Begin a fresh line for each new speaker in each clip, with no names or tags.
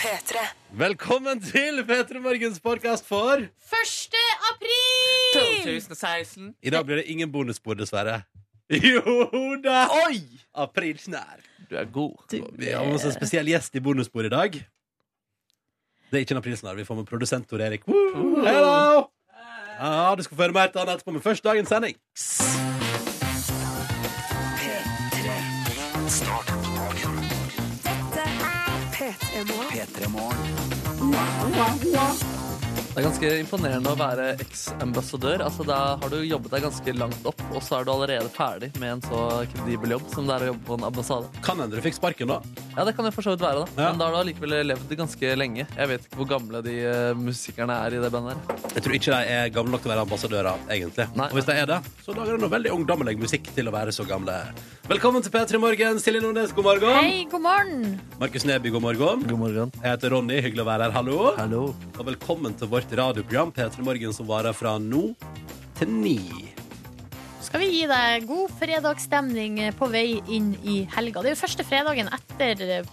P3.
Velkommen til P3 Morgens podkast for
1. april!
2016.
I dag blir det ingen bonusbord, dessverre. Jo da!
Oi!
Aprilsnær.
Du er god.
Vi har med oss en spesiell gjest i bonusbord i dag. Det er ikke en aprilsnarr. Vi får med produsent Tor Erik. Woo! Hello! Ja, du skal få høre mer til han etterpå, men først dagens sending.
P3 Morgen.
Det er ganske imponerende å være eks-ambassadør. Altså, da har du jobbet deg ganske langt opp, og så er du allerede ferdig med en så kredibel jobb som det er å jobbe på en ambassade.
Kan hende du fikk sparken, da.
Ja, det kan jo for så vidt være, da.
Ja.
Men da har du allikevel levd ganske lenge. Jeg vet ikke hvor gamle de eh, musikerne er i det bandet her.
Jeg tror ikke de er gamle nok til å være ambassadører, egentlig.
Nei.
Og hvis de er det, så lager de noe veldig ungdommelig musikk til å være så gamle. Velkommen til P3 Morgen. Silje Nordnes, god morgen.
Hei, god morgen!
Markus Neby, god morgen.
God morgen.
Jeg heter Ronny, hyggelig å være her. Hallo.
Hallo.
Og velkommen til vårt radioprogram P3 Morgen, som varer fra nå til ni.
Skal vi gi deg god fredagsstemning eh, på vei inn i helga? Det er jo første fredagen etter eh,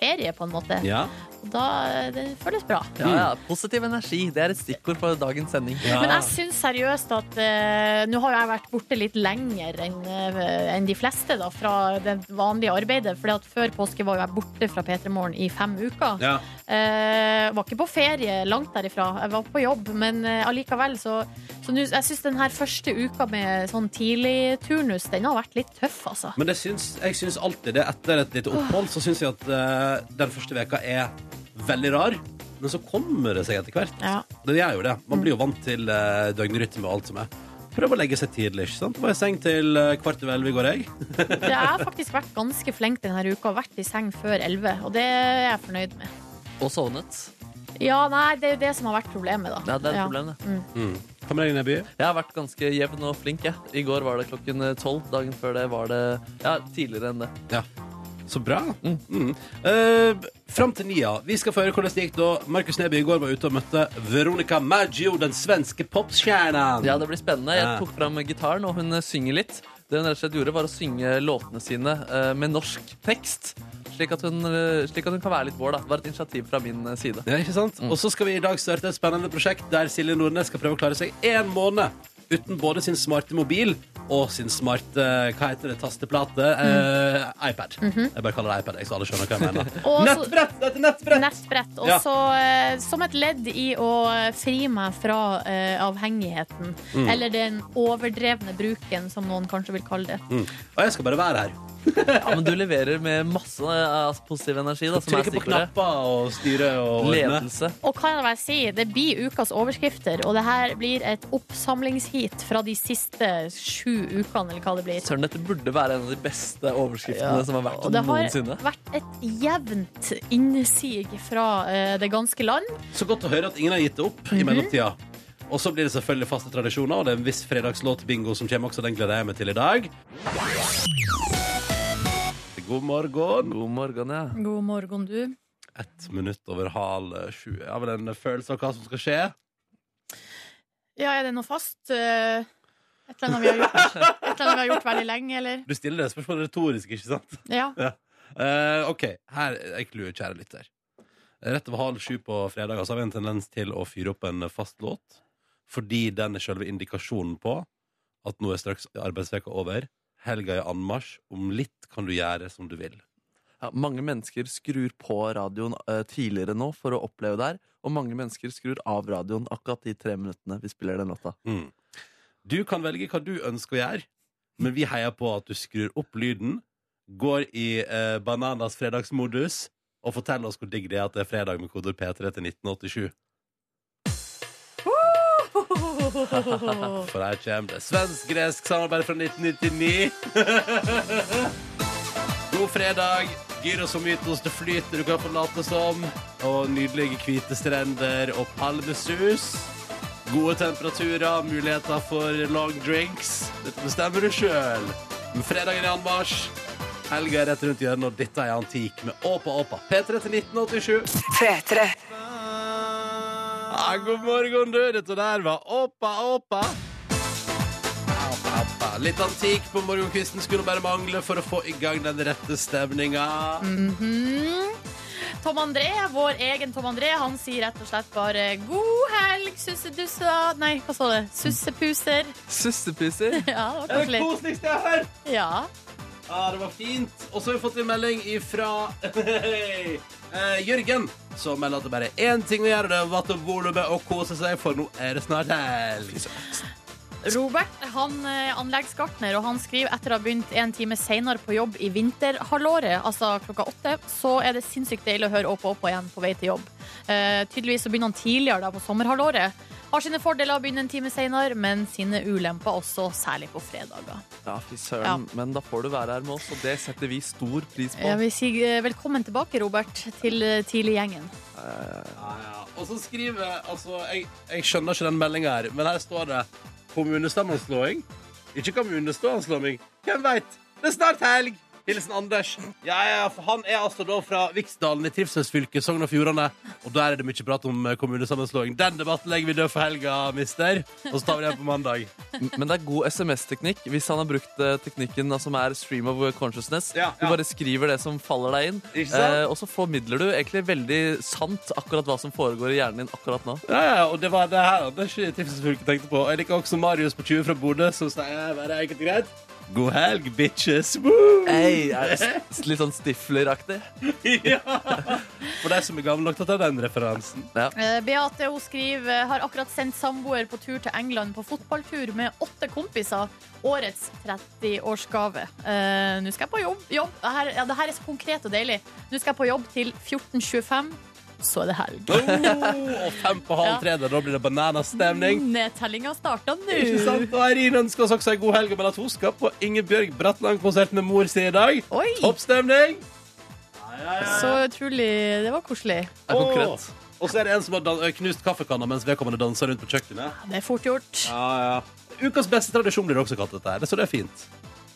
ferie, på en måte.
Ja.
Og Da eh, det føles bra.
Ja, ja. Positiv energi. Det er et stikkord for dagens sending.
Ja.
Men jeg syns seriøst at eh, Nå har jo jeg vært borte litt lenger enn eh, enn de fleste da, fra det vanlige arbeidet. For før påske var jo jeg borte fra P3 Morgen i fem uker.
ja.
Eh, var ikke på ferie langt derifra. Jeg var på jobb, men eh, allikevel så, så nå- Jeg syns den her første uka med sånn tidlig turnus, den har vært litt tøff, altså.
Men det syns, jeg syns alltid det etter et lite opphold, så syns jeg at eh, den første veka er veldig rar. Men så kommer det seg etter hvert.
Ja.
Det gjør jo det. Man blir jo vant til eh, døgnrytme og alt som er. Prøv å legge seg tidlig. ikke sant? Var i seng til eh, kvart over elleve i går, jeg.
For jeg har faktisk vært ganske flink denne uka, vært i seng før elleve, og det er jeg fornøyd med.
Og sovnet.
Ja, nei, det er jo det som har vært problemet, da.
Ja, det er et problem, det.
Hva med deg, Neby?
Jeg har vært ganske jevn og flink. Jeg. I går var det klokken tolv. Dagen før det var det ja, tidligere enn det.
Så bra. Mm. Eh, fram til nia. Vi skal få høre hvordan det gikk da Markus Neby i går var ute og møtte Veronica Maggio, den svenske popstjernen.
Ja, det blir spennende.
Ja.
Jeg tok fram gitaren, og hun eh, synger litt. Det hun rett og slett gjorde, var å synge låtene sine eh, med norsk tekst. Slik at, hun, eh, slik at hun kan være litt vår, da. Det var et initiativ fra min eh, side.
Ja, ikke sant? Og så skal vi i dag starte et spennende prosjekt der Silje Nordnes skal prøve å klare seg én måned uten både sin smarte mobil og sin smarte hva heter det, tasteplate
Mm.
eh, iPad.
Mhm.
Jeg bare kaller det iPad, jeg, så alle skjønner hva jeg mener.
Og så-
nettbrett! Det heter nettbrett!
Nettbrett. Og
Ja.
så eh, som et ledd i å eh, fri meg fra eh, avhengigheten.
Mm.
Eller den overdrevne bruken, som noen kanskje vil kalle det.
Mm. Og jeg skal bare være her.
Ja, men du leverer med masse eh, positiv energi, da, som er
Trykke på
stikkordet.
knapper og styre og ordne.
Ledelse.
Og hva kan jeg si, det blir ukas overskrifter, og det her blir et oppsamlingsheat fra de siste sju ukene, eller hva det blir.
Søren, dette burde være en av de beste overskriftene som har vært
Og det har
noensinne.
vært et jevnt innsig fra eh, det ganske land.
Så godt å høre at ingen har gitt det opp i mellomtida. Og så blir det selvfølgelig faste tradisjoner, og det er en viss fredagslåt-bingo som kommer også. Den gleder jeg meg til i dag. God morgen.
God morgen, ja.
God morgen, du.
ett minutt over halv sju. Jeg har vel en følelse av hva som skal skje.
Ja, er det noe fast? eh, et eller annet vi har gjort, et eller annet vi har gjort veldig lenge, eller?
Du stiller det spørsmålet retorisk, ikke sant?
Ja.
Eh, OK, her er et klue, kjære lytter. Rett over halv sju på fredag så har vi en tendens til å fyre opp en fast låt. Fordi den er selve indikasjonen på at nå er straks arbeidsveka over. Helga er anmarsj. Om litt kan du gjøre som du vil.
Ja, mange mennesker skrur på radioen eh, tidligere nå for å oppleve det her, og mange mennesker skrur av radioen akkurat de tre minuttene vi spiller den låta.
Mm. Du kan velge hva du ønsker å gjøre, men vi heier på at du skrur opp lyden, går i eh, Bananas fredagsmodus og forteller oss hvor digg det er at det er fredag med kodord P3 til 1987. For her kommer det svensk-gresk samarbeid fra 1999. God fredag. Gyros og mytos, det flyter du kan forlate som. Og nydelige hvite strender og palmesus. Gode temperaturer, muligheter for long drinks. Dette bestemmer du sjøl. Fredagen i anmarsj. Helga er rett rundt hjørnet, og dette er antik med Åpa Åpa. P3 til 1987.
P3.
Ah, god morgen, du. Dette der var Åpa Åpa. Åpa, Åpa. Litt antikk
Mm,
på morgenkvisten skulle bare mangle for å få i gang den rette stemninga.
Mhm. Tom André, vår egen Tom André, han sier rett og slett bare god helg, sussedusser Nei, hva sa det? Sussepuser.
Sussepuser.
Ja, det var
Det er det
koselig.
koseligste jeg har hørt!
Ja.
Ja, det var fint. Og så har vi fått en melding ifra eh, Jørgen, som melder at det bare er én ting å gjøre, det er å vatte opp volumet og kose seg, for nå er det snart helg.
Robert han eh, anleggsgartner, og han skriver etter å ha begynt en time senere på jobb i vinterhalvåret, altså klokka åtte, så er det sinnssykt deilig å høre Åpa Åpa igjen på vei til jobb. Eh, tydeligvis så begynner han tidligere da på sommerhalvåret. Har sine fordeler å begynne en time senere, men sine ulemper også, særlig på fredager.
Ja, fy søren. Men da får du være her med oss, og det setter vi stor pris på.
Jeg vil si eh, velkommen tilbake, Robert, til eh, tidliggjengen.
Ja, ja. Og så skriver Altså, jeg, jeg skjønner ikke den meldinga her, men her står det kommunestemmenslåing. Ikke kommunestemmenslåing. Hvem veit? Det er snart helg! Hilsen Anders. Ja, ja, for han er altså da fra Viksdalen i Trivselsfylket, Sogn og Fjordane. Og der er det mye prat om eh, kommunesammenslåing. Den debatten legger vi død for helga, mister. Og så tar vi den på mandag.
Men det er god SMS-teknikk hvis han har brukt eh, teknikken da, som er stream of consciousness.
Ja,
Du
ja.
bare skriver det som faller deg inn,
Ikke sant?
eh, og så formidler du egentlig veldig sant akkurat hva som foregår i hjernen din akkurat nå.
Ja, ja, og det var det her Anders i Trivselsfylket tenkte på. Jeg liker også Marius på 20 fra Bodø, som sier bare enkelt og greit. God helg, bitches! Woo!
Hey, er det s- litt sånn stifleraktig.
ja. For deg som er gammel nok til å ta den referansen.
Eh, Beate hun skriver eh, har akkurat sendt samboer på tur til England på fotballtur med åtte kompiser. Årets 30-årsgave. Eh, Nå skal jeg på jobb. jobb. Det, her, ja, det her er så konkret og deilig. Nå skal jeg på jobb til 14.25, så er det helg.
Oh, og fem på halv tre, da blir det bananastemning.
Nedtellinga starter
Ikke
nå.
sant? Og Eirin ønsker oss også ei god helg, men at hun skal på Ingebjørg Bratland-konsert med mor si i dag.
Oi,
Toppstemning!
så utrolig Det var koselig.
Det er konkret.
Åh. Og så er det en som har dan knust kaffekanna mens vedkommende danser rundt på kjøkkenet.
Det er fort gjort.
Ja, ja. Ukas beste tradisjon blir det også kalt dette her. Så det er fint.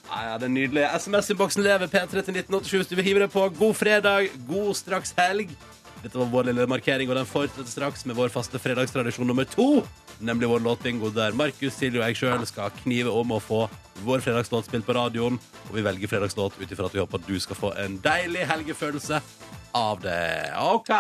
Ja, ja, det er nydelig. SMS-innboksen lever P3 til 1987 hvis du vil hive deg på. God fredag, god straks helg. Dette var vår lille markering, og den fortsetter straks med vår faste fredagstradisjon nummer to. Nemlig vår låtbingo, der Markus, Silje og jeg sjøl skal knive om å få vår fredagslåt spilt på radioen. Og vi velger fredagslåt ut ifra at vi håper at du skal få en deilig helgefølelse av det. OK!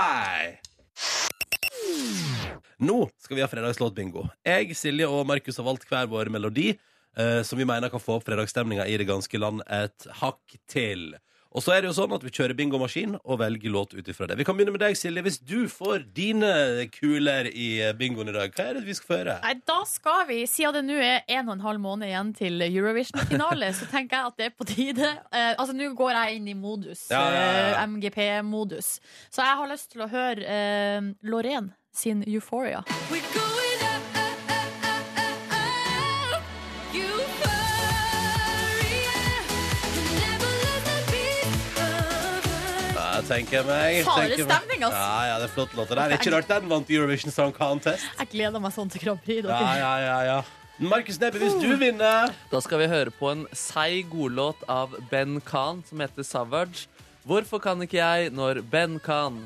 Nå skal vi ha fredagslåtbingo. Jeg, Silje og Markus har valgt hver vår melodi, eh, som vi mener kan få opp fredagsstemninga i det ganske land et hakk til. Og så er det jo sånn at vi kjører bingomaskin og velger låt ut ifra det. Vi kan begynne med deg, Silje. Hvis du får dine kuler i eh, bingoen i dag, hva er det vi skal få høre?
Nei, da skal vi, siden det nå er en og en halv måned igjen til Eurovision-finale, så tenker jeg at det er på tide. Eh, altså, nå går jeg inn i modus.
Ja, ja, ja, ja.
eh, MGP-modus. Så jeg har lyst til å høre eh, Loreen sin Euphoria.
Ja, tenker jeg meg.
Harde
tenker jeg meg.
stemning, ass.
Ja, ja, det er flott låt. Det der. Ikke rart den vant Eurovision Song Contest.
Jeg gleder meg sånn til Grand Prix.
Ja,
Dere.
ja, ja, ja. Markus Neby, hvis du vinner
Da skal vi høre på en seig godlåt av Ben Khan som heter Savage. Hvorfor kan ikke jeg når Ben Khan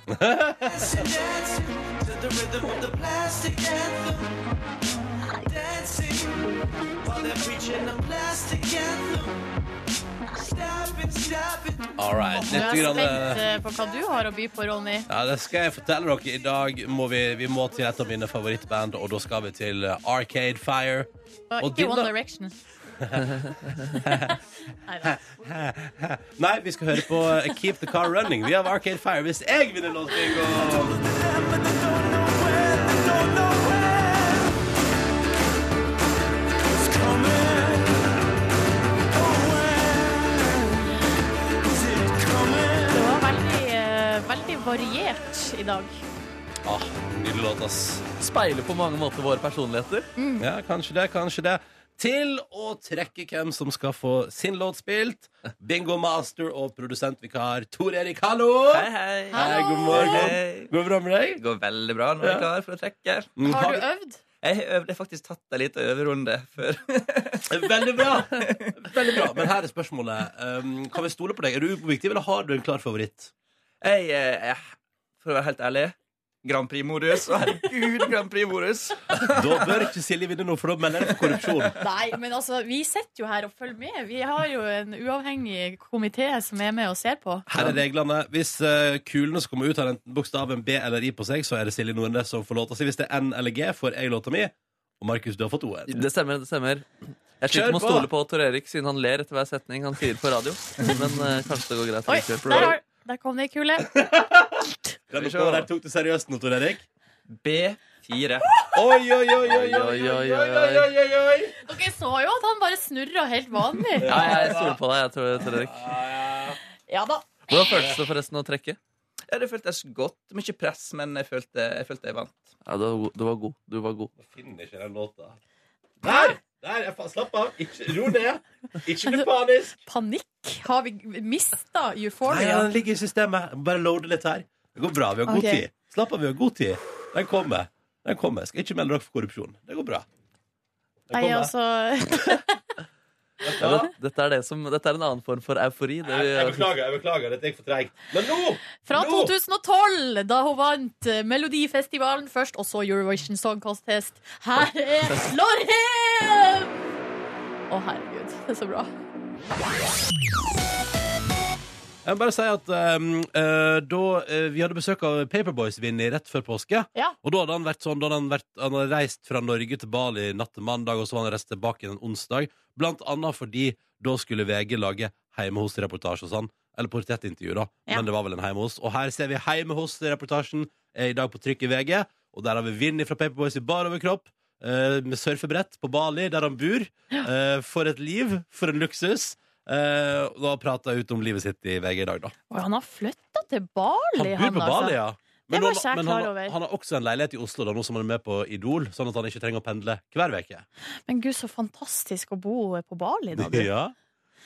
All right.
Nå er
Litt
jeg
grann, eh,
spent eh, på hva du har å by på, Ronny.
Ja, det skal jeg fortelle dere. I dag må vi, vi må til et av mine favorittband, og da skal vi til eh, Arcade Fire.
Og
Og
ikke
din,
One
da?
Direction. Neida.
Nei, vi skal høre på eh, Keep the Car Running. Vi har Arcade Fire hvis jeg vinner låtbingo!
Det var veldig, eh, veldig variert i dag.
Ah, nydelig låt, ass.
speiler på mange måter våre personligheter?
Ja, kanskje det, kanskje det. Til å trekke hvem som skal få sin låt spilt. Bingo master og produsentvikar Tor Erik, hallo!
Hei, hei.
Hei, god morgen.
Hei.
Går det bra med
Det
deg?
går veldig bra. Nå er jeg klar for å trekke.
Mm,
Har du øvd?
Jeg har øvd- jeg har faktisk tatt en liten øverunde før.
Veldig bra! Veldig bra, Men her er spørsmålet. Um, kan vi stole på deg? Er du objektiv, eller har du en klar favoritt?
Jeg, eh, jeg, for å være helt ærlig, Grand Prix-modus. Å, Herregud, Grand Prix-modus!
Da bør ikke Silje vinne noe, for da melder jeg for korrupsjon.
Nei, men altså, vi sitter jo her og følger med. Vi har jo en uavhengig komité som er med og ser på.
Her er reglene. Hvis eh, kulene som kommer ut, har enten bokstaven B eller I på seg, så er det Silje Nordnes som får låta si. Hvis det er N eller G, får jeg låta mi. Og Markus, du har fått O-en.
Det stemmer. det stemmer
Kjør
Jeg sliter med å
på!
stole på Tor Erik, siden han ler etter hver setning han sier på radio. Men eh, kanskje det går greit.
Oi,
likevel.
der, har, der kom det ei kule.
Den oppgaven der tok du seriøst nå, Tor Erik.
B4.
Oi, oi, oi, oi,
Oi,
oi,
oi,
oi, oi,
oi, oi.
oi, oi, oi.
Dere så jo at han bare snurra helt vanlig.
Ja, jeg stoler på deg, jeg tror Tor Erik.
Ja da.
Hvordan føltes det forresten å trekke?
Ja, det føltes godt. Mye press, men jeg følte jeg, følte jeg vant.
Ja, du var god. Du var god. Du var god.
Jeg finner ikke den låta. Der! Der, jeg fa- Slapp av. Ikke, ro ned. Ikke bli panisk.
Panikk? Har vi mista
Nei,
euphoria?
den ligger i systemet. Jeg må Bare loade litt her. Det går bra. Vi har god
Ok.
tid. Slapp av, vi har god tid. Den kommer. Den kommer. Skal ikke melde dere for korrupsjon. Det går bra. Den
Nei,
kommer.
altså
Ja, men dette, er det som, dette er en annen form for eufori. Det
Jeg, jeg
vi,
beklager, jeg beklager. Dette gikk for treigt. Men nå!
Fra
Nå!
2012, da hun vant eh, Melodifestivalen først, og så Eurovision Song Contest. Her er Lorhem! Å, herregud. Det er så bra.
Jeg må bare si at ehm, eh, da eh, vi hadde besøk av Paperboys-Vinny rett før påske
Ja.
Og da hadde han vært sånn, da hadde han, vært, han hadde reist fra Norge til Bali natt til mandag, og så var han reist tilbake igjen en onsdag. Blant annet fordi da skulle VG lage hjemme hos-reportasje og sånn. Eller portrettintervju, da.
Ja.
Men det var vel en hjemme hos. Og her ser vi hjemme hos-reportasjen eh, i dag på trykk i VG. Og der har vi Vinny fra Paperboys i bar overkropp. eh, med surfebrett på Bali, der han bor. Eh, for et liv, for en luksus. Eh, og da prata jeg ut om livet sitt i VG i dag, da.
Oi, han har flytta til Bali,
Han bor på
altså.
Bali, ja.
Det
Men,
var
han,
ikke jeg
men
klar
han,
over.
han har også en leilighet i Oslo da, nå som han er med på Idol, sånn at han ikke trenger å pendle hver uke.
Men gud, så fantastisk å bo eh, på Bali, da. du.
Ja.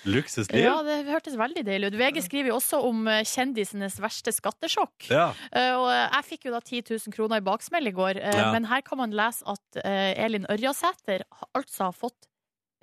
Luksusliv.
Ja, det hørtes veldig deilig ut. VG skriver jo også om eh, kjendisenes verste skattesjokk.
Ja.
Eh, og eh, jeg fikk jo da 10 000 kroner i baksmell i går, eh,
Ja.
men her kan man lese at eh, Elin Ørjasæter ha- altså har fått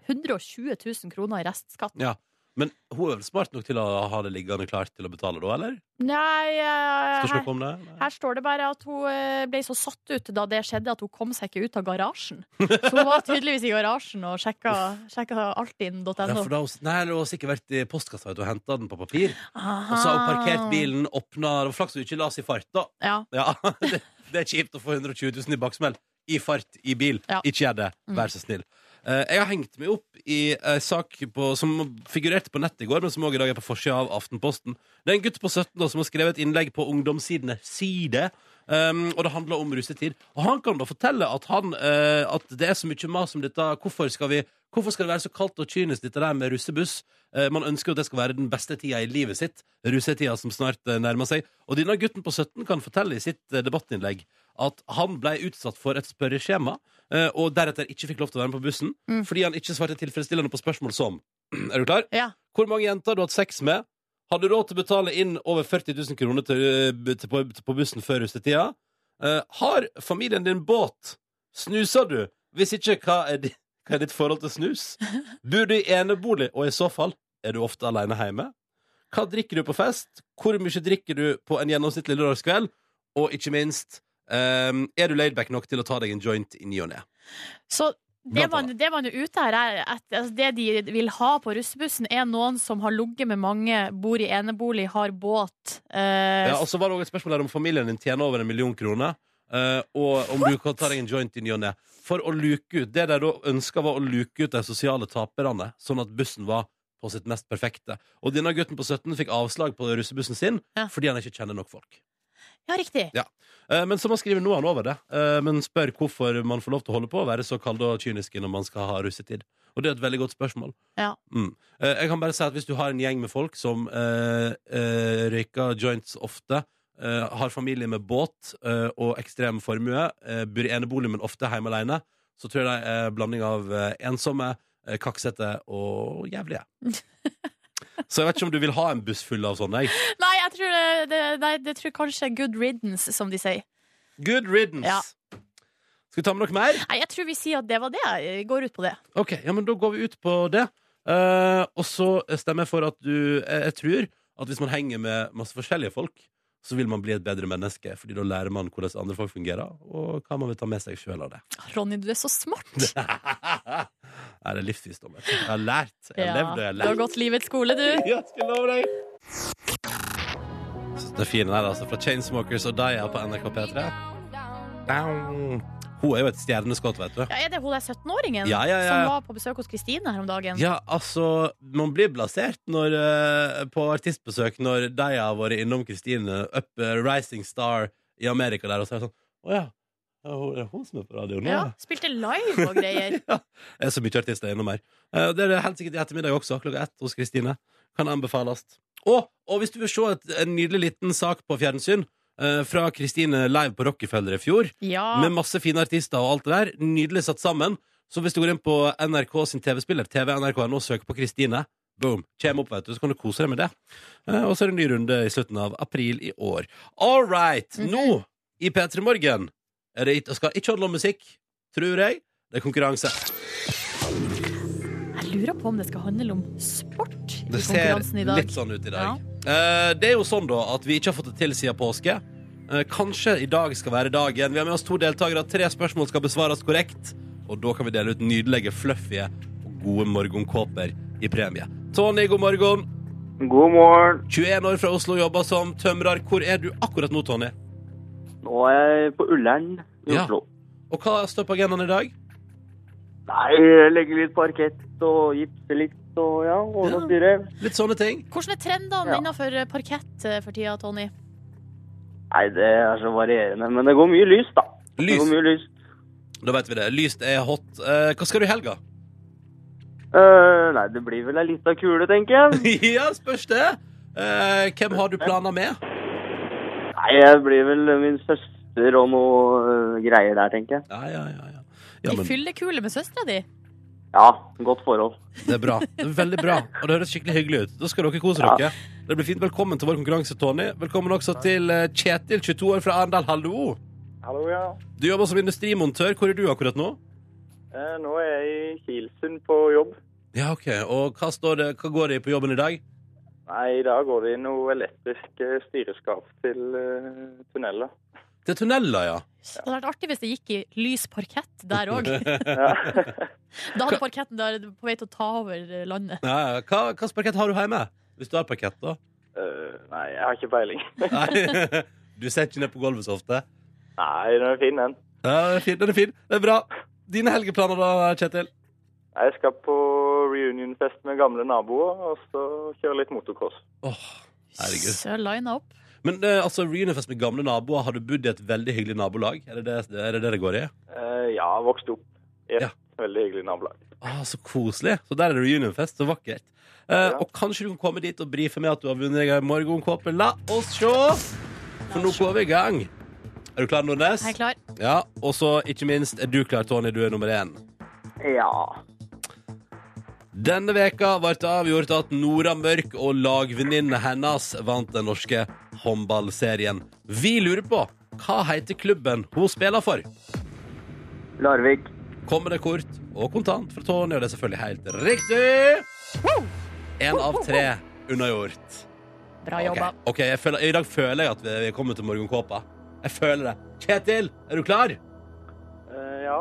120 000 kroner i restskatt.
Ja. Men hun er vel smart nok til å ha det liggende klart til å betale da, eller?
Nei, eh,
Skal ikke
her,
noe om det? Nei.
her står det bare at hun eh, ble så satt ut da det skjedde at hun kom seg ikke ut av garasjen. Så hun var tydeligvis i garasjen og sjekka, sjekka
Ja,
altinn.no.
for da, har hun- nei, hun har sikkert vært i postkassa vet du, og henta den på papir. Og så har
Ah.
hun parkert bilen, åpna Det var flaks hun ikke la oss i fart, da.
Ja.
Ja, det, det er kjipt å få 120 000 i baksmell. I fart, i bil.
Ja.
Ikke gjør det. Vær så snill. Eh, jeg har hengt meg opp i en sak på, som figurerte på nettet i går, men som også i dag er på forsida av Aftenposten. Det er en gutt på 17 år som har skrevet et innlegg på ungdomssidene Side. Um, og det handler om russetid. Og han kan da fortelle at, han, eh, at det er så mye mas om dette. Hvorfor skal, vi, hvorfor skal det være så kaldt og kynisk, dette der med russebuss? Eh, man ønsker jo at det skal være den beste tida i livet sitt. Russetida som snart eh, nærmer seg. Og denne gutten på 17 kan fortelle i sitt eh, debattinnlegg at han ble utsatt for et spørreskjema, eh, og deretter ikke fikk lov til å være med på bussen
Mm.
fordi han ikke svarte tilfredsstillende på spørsmål som Er du klar?
Ja.
Hvor mange jenter har du hatt sex med? Har du råd til å betale inn over 40 000 kroner til, eh, til, på, på bussen før russetida? Eh, har familien din båt? Snuser du? Hvis ikke, hva er, di, hva er ditt forhold til snus? Bor du i enebolig, og i så fall, er du ofte alene hjemme? Hva drikker du på fest? Hvor mye drikker du på en gjennomsnittlig lørdagskveld? Og ikke minst, ehm, er du laidback nok til å ta deg en joint i ny og ne?
Så det
Blant
man, det man er ute her er at altså, Det de vil ha på russebussen, er noen som har ligget med mange, bor i enebolig, har båt. eh,
Ja, altså- og så var det også et spørsmål her om familien din tjener over en million kroner. eh, og om du kan ta deg en joint i ny og ne. For å luke ut Det de da ønska, var å luke ut de sosiale taperne, sånn at bussen var på sitt mest perfekte. Og denne gutten på 17 fikk avslag på russebussen sin
Ja.
fordi han ikke kjenner nok folk.
ja, riktig.
Eh, Men som han skriver nå, er han over det. Eh, Men spør hvorfor man får lov til å holde på å være så kald og kynisk når man skal ha russetid. Og det er et veldig godt spørsmål.
Ja.
Mm. Eh, Jeg kan bare si at hvis du har en gjeng med folk som eh, eh, røyker joints ofte, eh, har familie med båt eh, og ekstrem formue, eh, bor i enebolig, men ofte hjemme alene, så tror jeg det er en blanding av eh, ensomme, eh, kaksete og jævlige. Så jeg vet ikke om du vil ha en buss full av sånne. jeg.
Nei, jeg tror, det, det, nei, det tror jeg kanskje er good riddance, som de sier.
Good riddance!
Ja.
Skal vi ta med noe mer?
Nei, jeg tror vi sier at det var det. Jeg Går ut på det.
Ok, ja, men da går vi ut på det. Eh, og så stemmer jeg for at du eh, Jeg tror at hvis man henger med masse forskjellige folk, så vil man bli et bedre menneske. Fordi da lærer man hvordan andre folk fungerer, og hva man vil ta med seg sjøl av det.
Ronny, du er så smart.
Nei, det er livsvisdom. vet du. Jeg har lært. Jeg har
Ja.
levd, og jeg har
Du har
lært.
gått livets skole, du.
Ja, skal jeg love deg. Så Den er fin, den her, altså. Fra Chainsmokers og Daya på NRK P3. Down. Hun er jo et stjerneskudd, vet du.
Ja, er det hun der 17-åringen
Ja, ja, ja.
som var på besøk hos Kristine her om dagen?
Ja, altså, man blir blasert når, eh, på artistbesøk når Daya har vært innom Kristine, up eh, rising star i Amerika der, og så er det sånn Å ja, det er hun- det er hun som er på radioen nå?
Ja,
Ja.
spilte live og greier.
Det er så mye artister innom her. Eh, og Det er det helt sikkert i ettermiddag også, klokka ett hos Kristine. Kan anbefales. Og, og hvis du vil se et, en nydelig liten sak på fjernsyn eh, fra Kristine live på Rockefeller i fjor,
Ja.
med masse fine artister og alt det der, nydelig satt sammen, så hvis du går inn på NRK sin TV-spiller, TV NRK og søker på Kristine, boom, kjem opp, vet du, så kan du kose deg med det. Eh, Og så er det en ny runde i slutten av april i år. All right, nå i P3 Morgen er det ikke, skal ikke handle om musikk, tror jeg. Det er konkurranse.
Jeg lurer på om det skal handle om sport i
Det ser
konkurransen i dag.
litt sånn ut i dag. Eh, det er jo sånn da at vi ikke har fått det til siden påske. Eh, kanskje i dag skal være dagen. Vi har med oss to deltakere. Tre spørsmål skal besvares korrekt. Og da kan vi dele ut nydelige, fluffy og gode morgenkåper i premie. Tony, god morgen.
God morgen.
21 år fra Oslo, jobber som tømrer. Hvor er du akkurat nå, Tony?
Nå er jeg på Ullern i
Ja.
Oslo.
Og hva står på agendaen i dag?
Nei, jeg legger litt parkett og gipser litt og ja, ordne
Ja.
opp dyret.
Litt sånne ting.
Hvordan er trendene
Ja.
innenfor parkett eh, for tida, Tony?
Nei, det er så varierende, men det går mye lys, da. Det går
Lys.
mye lys.
Da vet vi det. Lyst er hot. Eh, hva skal du i helga?
Eh, nei, det blir vel ei lita kule, tenker jeg.
ja, spørs det. Eh, hvem har du planer med?
Nei, jeg blir vel min søster og noe eh, greier der, tenker jeg.
Ja, ja, ja. ja. ja
De
men-
fyller kule med søstera di.
Ja, godt forhold.
Det er bra. Det er veldig bra. Og det høres skikkelig hyggelig ut. Da skal dere kose
Ja.
dere. Det blir fint. Velkommen til vår konkurranse, Tony. Velkommen også til eh, Kjetil, 22 år fra Arendal. Hallo!
Hallo, ja.
Du jobber som industrimontør. Hvor er du akkurat nå?
Eh, nå er jeg i Kilsund på jobb.
Ja, OK. Og hva, står det, hva går det i på jobben i dag?
Nei, i dag går det i noe elektrisk styreskap til eh, tunneler.
Det er tunneler, ja.
Det hadde vært artig hvis det gikk i lys parkett der òg.
Ja.
Da hadde parketten der på vei til å ta over eh, landet.
ja, ja. Hva slags parkett har du hjemme? Hvis du har parkett, da?
Eh, nei, jeg har ikke peiling.
Nei. Du setter ikke ned på gulvet så ofte?
Nei, den er fin, den.
Ja, den er fin. Den er fin. Det er bra. Dine helgeplaner da, Kjetil?
Jeg skal på reunionfest med gamle naboer, og så kjøre litt motocross.
Åh, herregud.
Så lina opp.
Men eh, altså, reunionfest med gamle naboer, har du bodd i et veldig hyggelig nabolag? Er det det er det, det det går i?
Eh, ja, vokst opp i et
Ja.
veldig hyggelig nabolag.
Ah, så koselig. Så der er det reunionfest. Så vakkert. Eh,
Ja.
Og kanskje du kan komme dit og brife med at du har vunnet deg en morgenkåpe. La oss se! For nå går vi i gang. Er du klar, Nordnes?
Jeg er klar.
Ja, Og så ikke minst, er du klar, Tony? Du er nummer én.
Ja.
Denne veka ble det avgjort at Nora Mørk og lagvenninnen hennes vant den norske håndballserien. Vi lurer på hva heter klubben hun spiller for?
Larvik.
kommer det kort og kontant fra Tony, og det er selvfølgelig helt riktig. Én av tre unnagjort.
Bra
Ok,
jobba.
ok, jeg føler, I dag føler jeg at vi, vi kommer til morgenkåpa. Jeg føler det. Kjetil, er du klar?
Eh, ja.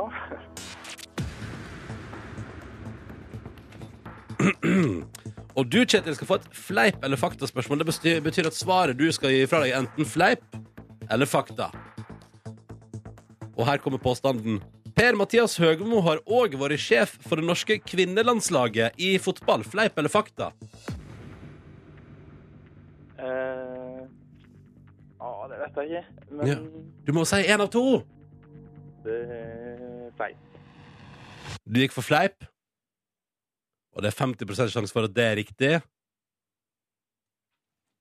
Og du, Kjetil, skal få et fleip- eller faktaspørsmål. Det bestyr, betyr at svaret du skal gi fra deg, er enten fleip eller fakta. Og her kommer påstanden. Per-Mathias Høgmo har òg vært sjef for det norske kvinnelandslaget i fotball. Fleip eller fakta?
Eh, ja, det vet jeg ikke. Men
Ja. Du må si én av to!
det er feit.
Du gikk for fleip, og det er 50 sjanse for at det er riktig.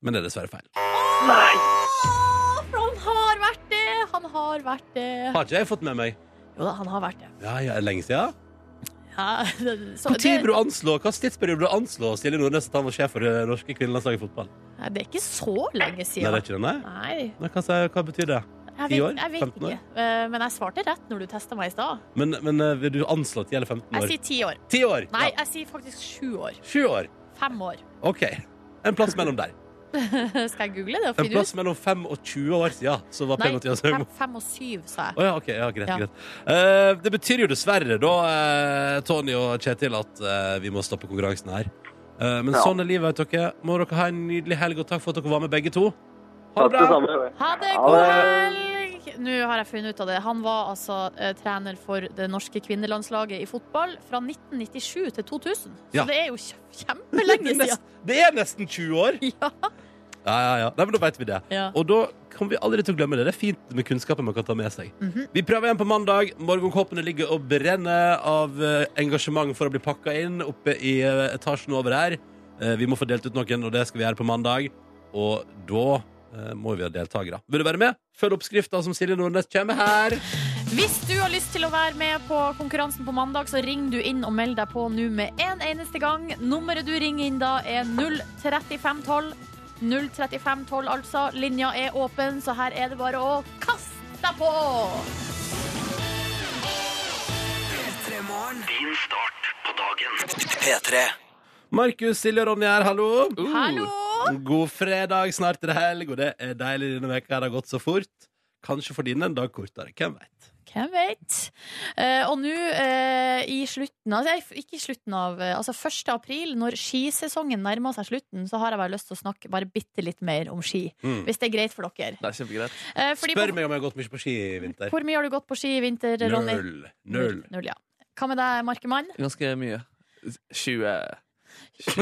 Men det er dessverre feil.
Å, for han har vært det! Han har vært det.
Har ikke jeg fått med meg?
Jo da, han har vært det.
Ja, ja, er det lenge siden.
Ja, så,
Hvor tid burde du anslå, hva tidsperiode burde du anslå Silje Nordnes at han var sjef for det norske kvinnelandslaget i fotball?
Nei, det er ikke så lenge
Nei, det
siden.
er ikke det, nei?
Nei,
nei hva, sier- hva betyr det?
jeg
Ti år?
vet, jeg vet
15 år?
ikke. Eh, Men jeg svarte rett når du testa meg i stad.
Men, men eh, vil du anslå 10 eller 15
Jeg
år?
sier ti år.
10 år!
Nei,
Ja.
jeg sier faktisk sju år.
Sju år.
Fem år.
OK. En plass mellom der.
Skal jeg google det og
En
finne
plass
ut?
mellom 5 og 20 år siden så var
Nei,
Per-Mathias
fem,
Høgmo
fem og syv, sa jeg.
Å ja, ok. Ja, greit,
Ja.
greit. Eh, det betyr jo dessverre, da, eh, Tony og Kjetil, at eh, vi må stoppe konkurransen her. Eh, men
Ja.
sånn er livet, vet dere. Må dere ha en nydelig helg, og takk for at dere var med, begge to. Ha
Takk
det
det
bra!
samme.
Ha det,
Ha
god
det.
helg! Nå har jeg funnet ut av det. Han var altså eh, trener for det norske kvinnelandslaget i fotball fra 1997 til 2000.
Ja.
Så det er jo kj- kjempelenge siden.
Det er nesten 20 år!
Ja.
Ja, ja, ja. Nei, men da vet vi det.
Ja.
Og da kommer vi aldri til å glemme det. Det er fint med kunnskapen man kan ta med seg. Vi prøver igjen på mandag. Morgenkåpene ligger og brenner av eh, engasjement for å bli pakka inn oppe i eh, etasjen over her. Eh, vi må få delt ut noen, og det skal vi gjøre på mandag. Og da eh, må vi ha deltakere. Vil du være med? Følg oppskrifta som Silje Nordnes kommer her.
Hvis du har lyst til å være med på konkurransen på mandag, så ring du inn og meld deg på nå med en eneste gang. Nummeret du ringer inn da, er 03512. 03512, altså. Linja er åpen, så her er det bare å kaste deg på!
Markus, Silje og Ronny her, hallo.
Hallo!
God fredag, snart er det helg, og det er deilig denne veka her har gått så fort. Kanskje for din en dag kortere. Hvem veit?
Hvem vet? Eh, og nå eh, i slutten av, nei, Ikke i slutten av eh, Altså 1. april, når skisesongen nærmer seg slutten, så har jeg bare lyst til å snakke bare bitte litt mer om ski.
Mm.
Hvis det er greit for dere.
Det er kjempegreit.
Eh, fordi
Spør
på-
meg om jeg har gått mye på ski i vinter.
Hvor mye har du gått på ski i vinter, Ronny?
Null. Null.
Null, ja. Hva med deg, Markemann?
Ganske mye. 20 20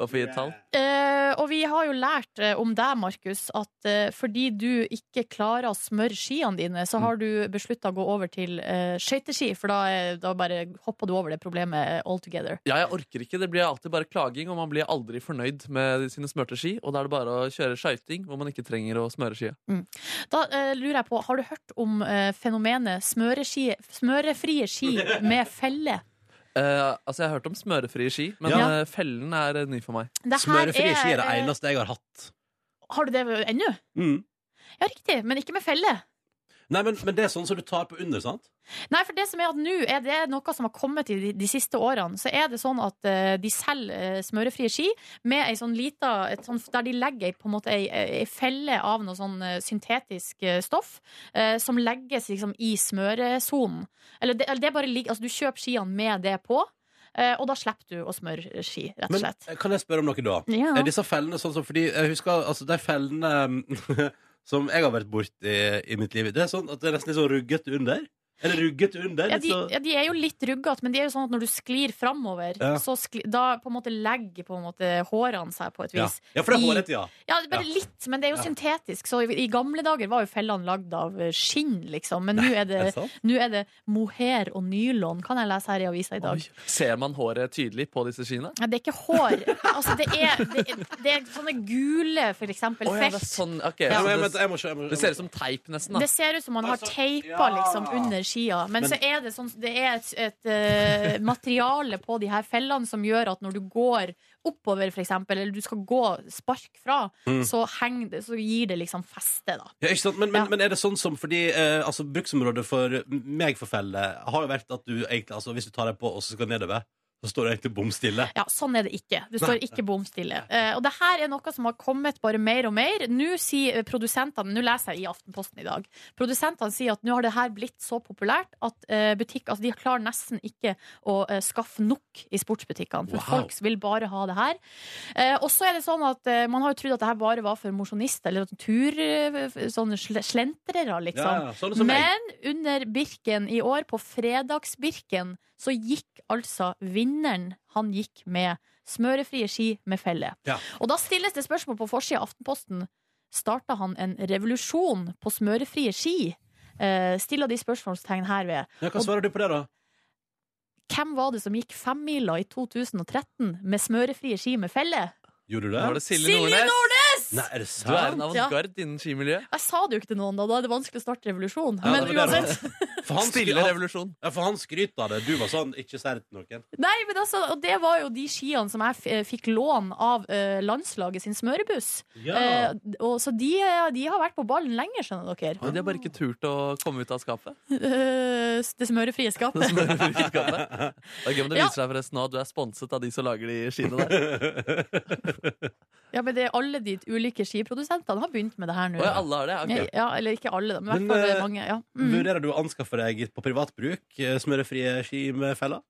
Hva for et tall?
Eh, og vi har jo lært eh, om deg, Markus, at eh, fordi du ikke klarer å smøre skiene dine, så
Mm.
har du beslutta å gå over til eh, skøyteski, for da, eh, da bare hopper du over det problemet all together.
Ja, jeg orker ikke. Det blir alltid bare klaging, og man blir aldri fornøyd med sine smørte ski. Og da er det bare å kjøre skøyting hvor man ikke trenger å smøre skia.
Da eh, lurer jeg på, har du hørt om eh, fenomenet smøreski, smørefrie ski med felle?
Eh, altså, jeg har hørt om smørefrie ski, men
Ja.
eh, fellen er eh, ny for meg.
Det her
Smørefrie ski er det
eh,
eneste jeg har hatt. Mm.
Har du det ennå? Ja, riktig, men ikke med felle.
Nei, men, men det er sånn som du tar på under, sant?
Nei, for det som er at nå er det noe som har kommet i de, de siste årene. Så er det sånn at eh, de selger eh, smørefrie ski med ei sånn lita et sånn, Der de legger ei, på en måte ei, ei felle av noe sånn eh, syntetisk eh, stoff eh, som legges liksom i smøresonen. Eller det, eller det bare ligger Altså, du kjøper skiene med det på, eh, og da slipper du å smøre ski, rett og
Men
slett.
eh, kan jeg spørre om noe da?
Ja.
Er disse fellene sånn som Fordi jeg husker altså, de fellene mm, som jeg har vært borti i mitt liv, det er sånn at det er nesten litt sånn ruggete under. Eller ruggete under.
Ja,
Litt sånn-
de,
så,
ja, de er jo litt ruggete, men de er jo sånn at når du sklir framover,
Ja.
så skli, da på en måte legger på en måte hårene seg på et
ja.
vis.
ja, for det er
i-
hårete, ja.
Ja, det er bare
Ja.
litt, men det er jo
Ja.
syntetisk. Så i, i gamle dager var jo fellene lagd av eh, skinn, liksom. Men nå er, det-
Er det sant?
nå er det mohair og nylon, kan jeg lese her i avisa i dag.
Ser man håret tydelig på disse skiene?
Ja, Det er ikke hår. Altså, det er, det er, det er sånne gule, for eksempel,
Å ja,
felt.
det, er sånn, ok,
Ja,
så
men, jeg,
det,
jeg må, se- jeg må,
det ser ut som teip, nesten.
Det
Da.
ser ut som man har
Altså,
teipa
ja.
liksom under skia. Men,
Men-
så er det sånn Det er et, et eh, materiale på de her fellene som gjør at når du går oppover, for eksempel, eller du skal gå spark fra, så, henger det, så gir det liksom feste, da.
Ja, ikke sant? Men, men,
Ja.
men er det sånn som fordi eh, altså, Bruksområdet for meg for felle har jo vært at du egentlig altså, Hvis du tar deg på og så skal nedover, så står du egentlig bom stille.
Ja, sånn er det ikke. Du står ikke bom stille. Eh, og det her er noe som har kommet bare mer og mer. Nå sier produsentene Nå leser jeg i Aftenposten i dag. Produsentene sier at nå har det her blitt så populært at eh, butikk Altså, de klarer nesten ikke å eh, skaffe nok i sportsbutikkene. For
Wow.
folk vil bare ha det her. Eh, og så er det sånn at eh, man har jo trodd at det her bare var for mosjonister eller sånn tur... eh, Sånne sle- slentrere,
Ja,
liksom.
ja, sånn som meg.
Men under Birken i år, på fredagsbirken, så gikk altså vinneren Han gikk med smørefrie ski med felle.
Ja.
Og da stilles det spørsmål på forsida av Aftenposten. Starta han en revolusjon på smørefrie ski? Eh, stiller de spørsmålstegn her ved.
Ja, hva svarer du på det, da?
Hvem var det som gikk femmila i 2013 med smørefrie ski med felle?
Gjorde du det?
Var det Silje
Silje
Nordnes?
Nei, er det
Du er en
sant?
Ja.
avantgarde innen skimiljøet.
Jeg sa det jo ikke til noen, da. Da er det vanskelig å starte revolusjon.
Ja,
Men
det
var det
uansett.
For han, skry-
Stille
han,
revolusjon.
ja, for han skryter av det. Du var sånn, ikke si det til noen.
Nei, men altså, og det var jo de skiene som jeg f eh, fikk lån av eh, landslaget sin smørebuss. Eh, og, så de, eh, de har vært på ballen lenger, skjønner dere.
Men de har bare ikke turt å komme ut av skapet.
Eh, det smørefrie skapet.
Det smørefrie skapet. Det er gøy om det
Ja.
viser seg forresten nå at du er sponset av de som lager de skiene der.
Ja, men det er alle de ulike skiprodusentene har begynt med det her nå.
Å ja, alle har det? Ok.
Ja, eller ikke alle, da, men i hvert
Men,
fall er
eh,
det mange. Ja. Mm.
Vurderer du å anskaffe deg på privat bruk eh, smørefrie ski med feller?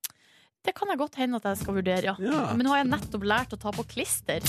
Det kan jeg godt hende at jeg skal vurdere, ja.
Ja.
Men nå har jeg nettopp lært å ta på klister.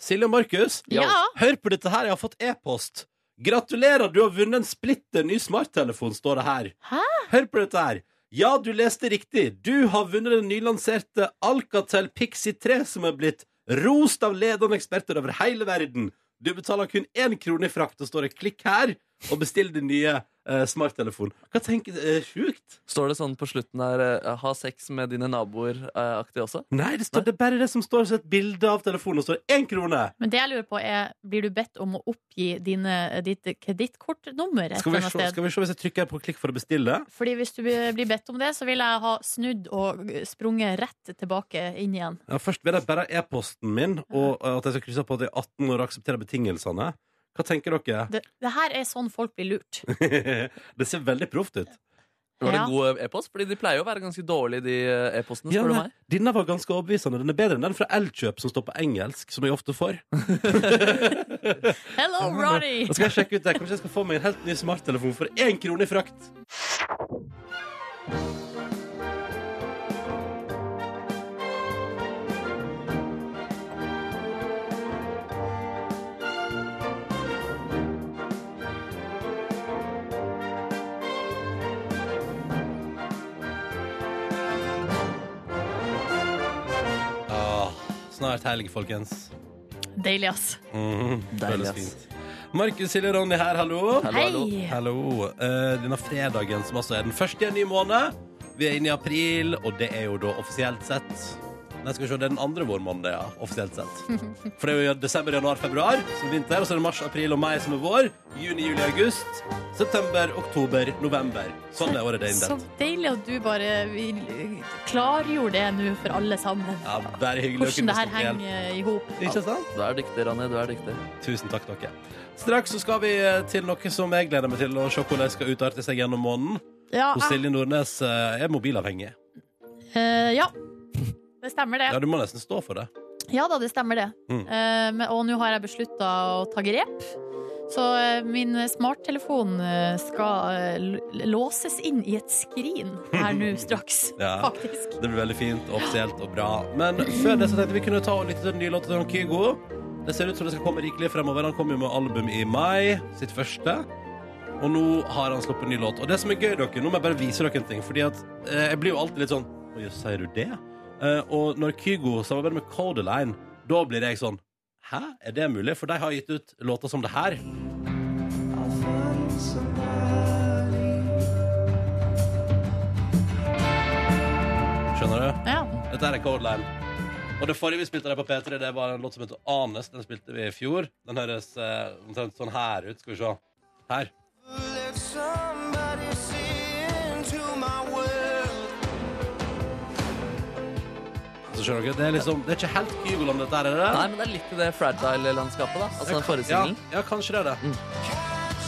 Silje og Markus,
Ja.
hør på dette her, jeg har fått e-post. Gratulerer, du har vunnet en splitter ny smarttelefon, står det her.
Hæ?
Hør på dette her. Ja, du leste riktig. Du har vunnet den nylanserte Alcatel Pixie 3, som er blitt rost av ledende eksperter over hele verden. Du betaler kun én krone i frakt, og står det 'klikk her', og bestill din nye eh, smarttelefon. Hva tenker du? Eh, sjukt?
Står det sånn på slutten her eh, 'ha sex med dine naboer'-aktig også?
Nei, det, står, det er bare det som står som et bilde av telefonen, og står én krone.
Men det jeg lurer på er, blir du bedt om å oppgi dine, ditt kredittkortnummer? et
Skal vi,
eller
se,
annet sted?
skal vi se hvis jeg trykker på klikk for å bestille?
Fordi hvis du blir bedt om det, så vil jeg ha snudd og sprunget rett tilbake inn igjen.
Ja, først vil jeg bare ha e-posten min, og eh, at jeg skal krysse på at jeg er 18 år og akseptere betingelsene. Hva tenker dere?
Det, det her er sånn folk blir lurt.
det ser veldig proft ut.
Var det
Ja.
en god eh, e-post? Fordi de pleier jo å være ganske dårlige, de eh, e-postene,
Ja,
spør du
nei,
meg.
Denne var ganske overbevisende. Den er bedre enn den fra Elkjøp, som står på engelsk, som jeg ofte får.
Hello, Ronny!
Da skal jeg sjekke ut det. Kanskje jeg skal få meg en helt ny smarttelefon for én krone i frakt. Ah, Snart helg, folkens.
Deilig, ass.
Mhm,
Deilig,
føles
ass.
fint. Markus, Silje og Ronny her, hallo.
Hallo, hallo.
Hei!
Hallo. Eh, denne fredagen som altså er den første i en ny måned. Vi er inne i april, og det er jo da offisielt sett Nei, skal vi se, det er den andre vår måned, ja. Offisielt sett. For det er jo desember, januar, februar som er vinter, og så er det mars, april og mai som er vår. Juni, juli, august. September, oktober, november. Sånn er året det er
Så
inndelt.
deilig at du bare vil- klargjorde det nå for alle sammen.
Ja, bare hyggelig å
Hvordan
kunne
det her
snakke igjen.
henger i hop.
Ikke sant?
Du er dyktig, Ronny. Du er dyktig.
Tusen takk, dere. Straks så skal vi eh, til noe som jeg gleder meg til å se hvordan skal utarte seg gjennom måneden.
Ja,
Hvor Silje Nordnes eh, er mobilavhengig.
eh, ja. Det stemmer, det.
Ja, Du må nesten stå for det.
Ja da, det stemmer det.
Mm.
Eh, men- og nå har jeg beslutta å ta grep. Så eh, min smarttelefon eh, skal eh, l- låses inn i et skrin her nå straks,
Ja.
faktisk.
Det blir veldig fint, offisielt og bra. Men før det så tenkte vi kunne ta og lytte til den nye låta til han Kygo. Det ser ut som det skal komme rikelig fremover. Han kom jo med album i mai, sitt første. Og nå har han sluppet en ny låt. Og det som er gøy, dere, nå må jeg bare vise dere en ting. Fordi at eh, jeg blir jo alltid litt sånn Å jøss, sier du det? Eh, og når Kygo samarbeider med Codeline, da blir jeg sånn Hæ, er det mulig? For de har gitt ut låter som det her. Skjønner du?
Ja.
Dette her er Codeline. Og det forrige vi spilte der på P3, det var en låt som heter Anes. Den spilte vi i fjor. Den høres eh, omtrent sånn her ut. Skal vi se. Her. Så skjønner dere, Det er liksom, det er ikke helt Kygoland, dette her, er det?
Nei, men det er litt i det fragile-landskapet, da. Altså den forrige
ja,
singelen.
ja, kanskje det er det.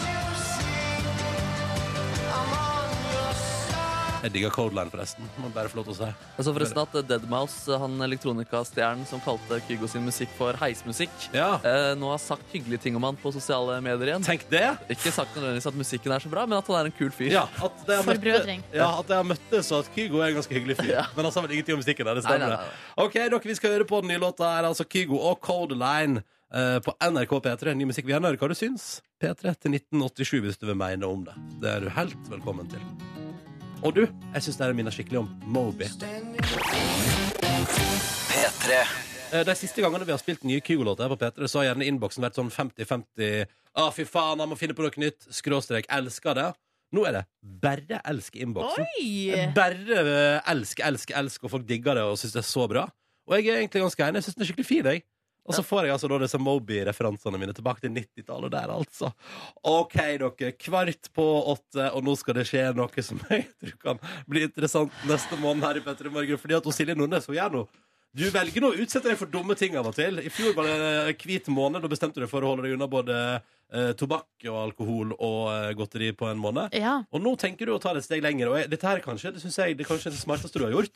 Jeg digger Codeline, forresten. Må bare få lov til å si.
Jeg så forresten at eh, Deadmouse, han elektronikastjernen som kalte Kygo sin musikk for heismusikk,
Ja,
eh, nå har sagt hyggelige ting om han på sosiale medier igjen.
tenk det!
Ikke sagt nødvendigvis at musikken er så bra, men at han er en kul fyr.
Ja, at de har
Forbrødring.
møtte- Ja, at de har møttes, og at Kygo er en ganske hyggelig fyr. Men han sa vel ingenting om musikken. der, Det
Nei,
stemmer. det.
nei, nei, nei.
Ok, dere, vi skal høre på den nye låta her, altså Kygo og Codeline eh, på NRK P3. Ny musikk. Vi gjerne hører hva du syns. P3 til 1987 hvis du vil mene om det. Det er du helt velkommen til. Og du, jeg syns dere minner skikkelig om Moby. Eh, De siste gangene vi har spilt nye Kygo-låter her på P3, så har gjerne innboksen vært sånn 50-50 Å, fy faen, jeg må finne på noe nytt. Skråstrek. Elsker det. Nå er det bare elsk i innboksen.
Oi!
Bare eh, elsk, elsk, elsk, og folk digger det og syns det er så bra. Og jeg er egentlig ganske enig. Jeg syns den er skikkelig fin, jeg. Og så får jeg altså da disse Moby-referansene mine tilbake til 90-tallet der, altså. OK, dere. Kvart på åtte, og nå skal det skje noe som jeg tror kan bli interessant neste måned her i Petter i morgen. Fordi at hun Silje Nordnes hun gjør noe Du velger nå å utsette deg for dumme ting av og til. I fjor var det eh, hvit måned. Da bestemte du deg for å holde deg unna både eh, tobakk og alkohol og eh, godteri på en måned.
Ja.
Og nå tenker du å ta det et steg lenger. Og jeg, dette her er kanskje, det synes jeg det er kanskje det smarteste du har gjort.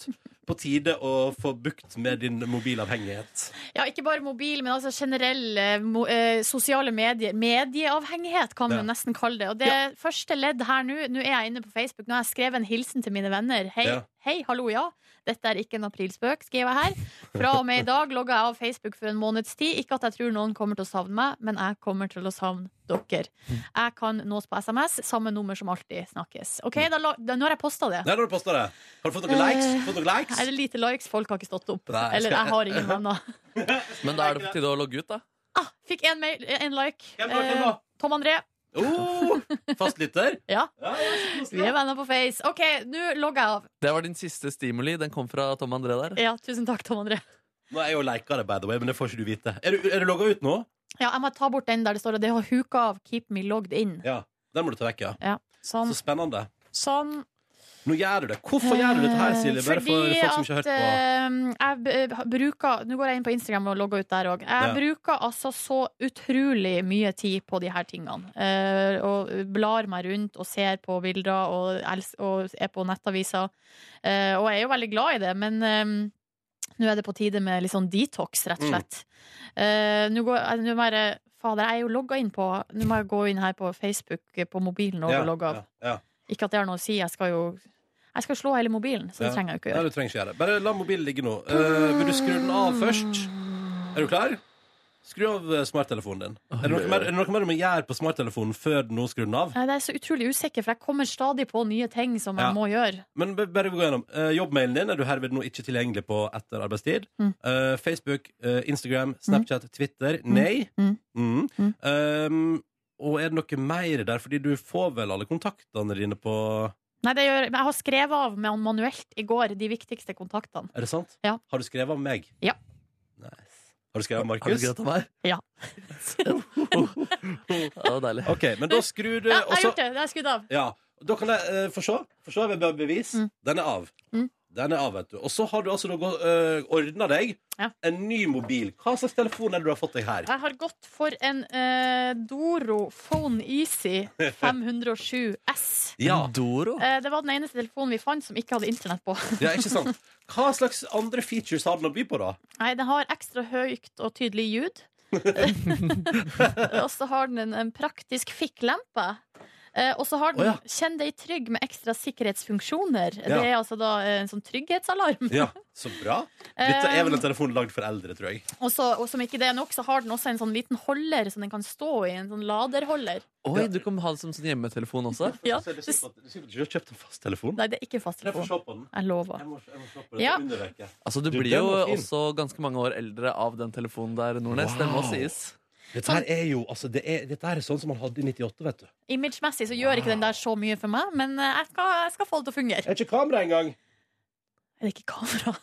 På tide å få bukt med din mobilavhengighet.
ja, ikke bare mobil, men altså generell eh, mo eh, sosiale medier. Medieavhengighet kan
Ja.
man nesten kalle det. Og det første ledd her nå, nå er jeg inne på Facebook, nå har jeg skrevet en hilsen til mine venner. Hei,
Ja.
hei, hallo, ja. Dette er ikke en aprilspøk, skriver jeg her. Fra og med i dag logger jeg av Facebook for en måneds tid. Ikke at jeg tror noen kommer til å savne meg, men jeg kommer til å savne dere. Jeg kan nås på SMS, samme nummer som alltid snakkes. Ok, da, la- da, nå har jeg posta det.
Mm. Nei, da har du postet det. Har du fått noen likes?
Eh,
Fått noen likes?
Her er det lite likes, folk har ikke stått opp.
Nei.
Eller jeg har ingen venner.
Men da er det på tide å logge ut, da.
Ah, fikk én mail, én like.
Hvem da, hvem da?
Eh, Tom André.
Oh, fastlytter?
Ja,
Ja, ja, så
vi
koselig.
er venner på Face. OK, nå logger jeg av.
Det var din siste stimuli. Den kom fra Tom André der.
Ja, tusen takk, Tom André.
Nå er jeg jo leika det, by the way, men det får ikke du vite. Er du, er du logga ut nå?
Ja, jeg må ta bort den der det står at det har huka av 'keep me logged in'.
Ja. Den må du ta vekk, ja.
Sånn.
Så spennende.
sånn.
Nå gjør du det. Hvorfor gjør du dette her, Silje? Bare for
Fordi
folk som ikke har hørt på.
at eh, jeg b- bruker Nå går jeg inn på Instagram og logger ut der òg. Jeg
Ja.
bruker altså så utrolig mye tid på de her tingene. Eh, og blar meg rundt og ser på bilder og, els- og er på nettaviser. Eh, og jeg er jo veldig glad i det, men eh, nå er det på tide med litt sånn detox, rett og
Mm.
slett. Eh, nå går jeg- nå må jeg Fader, jeg er jo logga inn på Nå må jeg gå inn her på Facebook eh, på mobilen og
Ja,
logge av.
ja, ja.
Ikke at det har noe å si, jeg skal jo Jeg skal slå hele mobilen, så det
Ja.
trenger jeg jo ikke
Nei,
gjøre.
du trenger ikke gjøre det. Bare la mobilen ligge nå. Eh, vil du skru den av først? Er du klar? Skru av eh, smarttelefonen din. Er det noe mer, er det noe mer du må gjøre på smarttelefonen før du nå skrur den av?
Nei, det er så utrolig usikker, for jeg kommer stadig på nye ting som
Ja.
jeg må gjøre.
Men b- bare gå gjennom. Eh, jobbmailen din er du herved nå ikke tilgjengelig på etter arbeidstid.
Mm.
Eh, Facebook, eh, Instagram, Snapchat, Twitter. Nei.
Mm.
Mm.
Mm.
Um, og er det noe mer der? Fordi du får vel alle kontaktene dine på
Nei, det gjør, men jeg har skrevet av med han manuelt i går de viktigste kontaktene.
Er det sant?
Ja.
Har du skrevet om meg?
Ja.
Nice. Har du skrevet om
Har du
Markus?
skrevet om meg?
Ja.
det var deilig.
OK, men da skrur du
Ja, jeg
og
har
så-
gjort det! Det er skudd av.
Ja, da kan jeg eh, få se. Få se, jeg vil bevis.
Mm.
Den er av.
Mm.
Den er av, vet du. Og så har du altså da uh, ordna deg
Ja.
en ny mobil. Hva slags telefon er det du har fått deg her?
Jeg har gått for en eh, Doro Phone Easy 507 S.
Ja,
Doro.
Eh, det var den eneste telefonen vi fant som ikke hadde internett på.
ja, ikke sant? Hva slags andre features har den å by på, da?
Nei, den har ekstra høyt og tydelig ljud. og så har den en, en praktisk fikklempe. Eh, og så har den
Å, ja.
Kjenn deg trygg med ekstra sikkerhetsfunksjoner.
Ja.
Det er altså da eh, en sånn trygghetsalarm.
Ja, Så bra. Dette er vel en telefon lagd for eldre, tror jeg.
Eh, og, så, og som ikke det er nok, så har den også en sånn liten holder som den kan stå i. En sånn laderholder.
Oi, du kan ha det som sånn hjemmetelefon også.
Ja.
Så er Altså, det sikkert at- du sikkert ikke har kjøpt en fasttelefon?
Nei, det er ikke en
Jeg får
fasttelefon.
se på den.
Jeg lover.
Jeg må, jeg må se på
Ja.
den. Ja.
Altså, Du
Du,
blir
den
jo
var fin.
også ganske mange år eldre av den telefonen der, Nordnes. Det må
Wow.
sies.
Dette her er jo altså, det er, dette her er sånn som man hadde i 98, vet du.
Imagemessig så gjør ikke den der så mye for meg, men eh, jeg skal, jeg skal få det til å fungere.
Er ikke kamera engang.
Er det ikke kamera?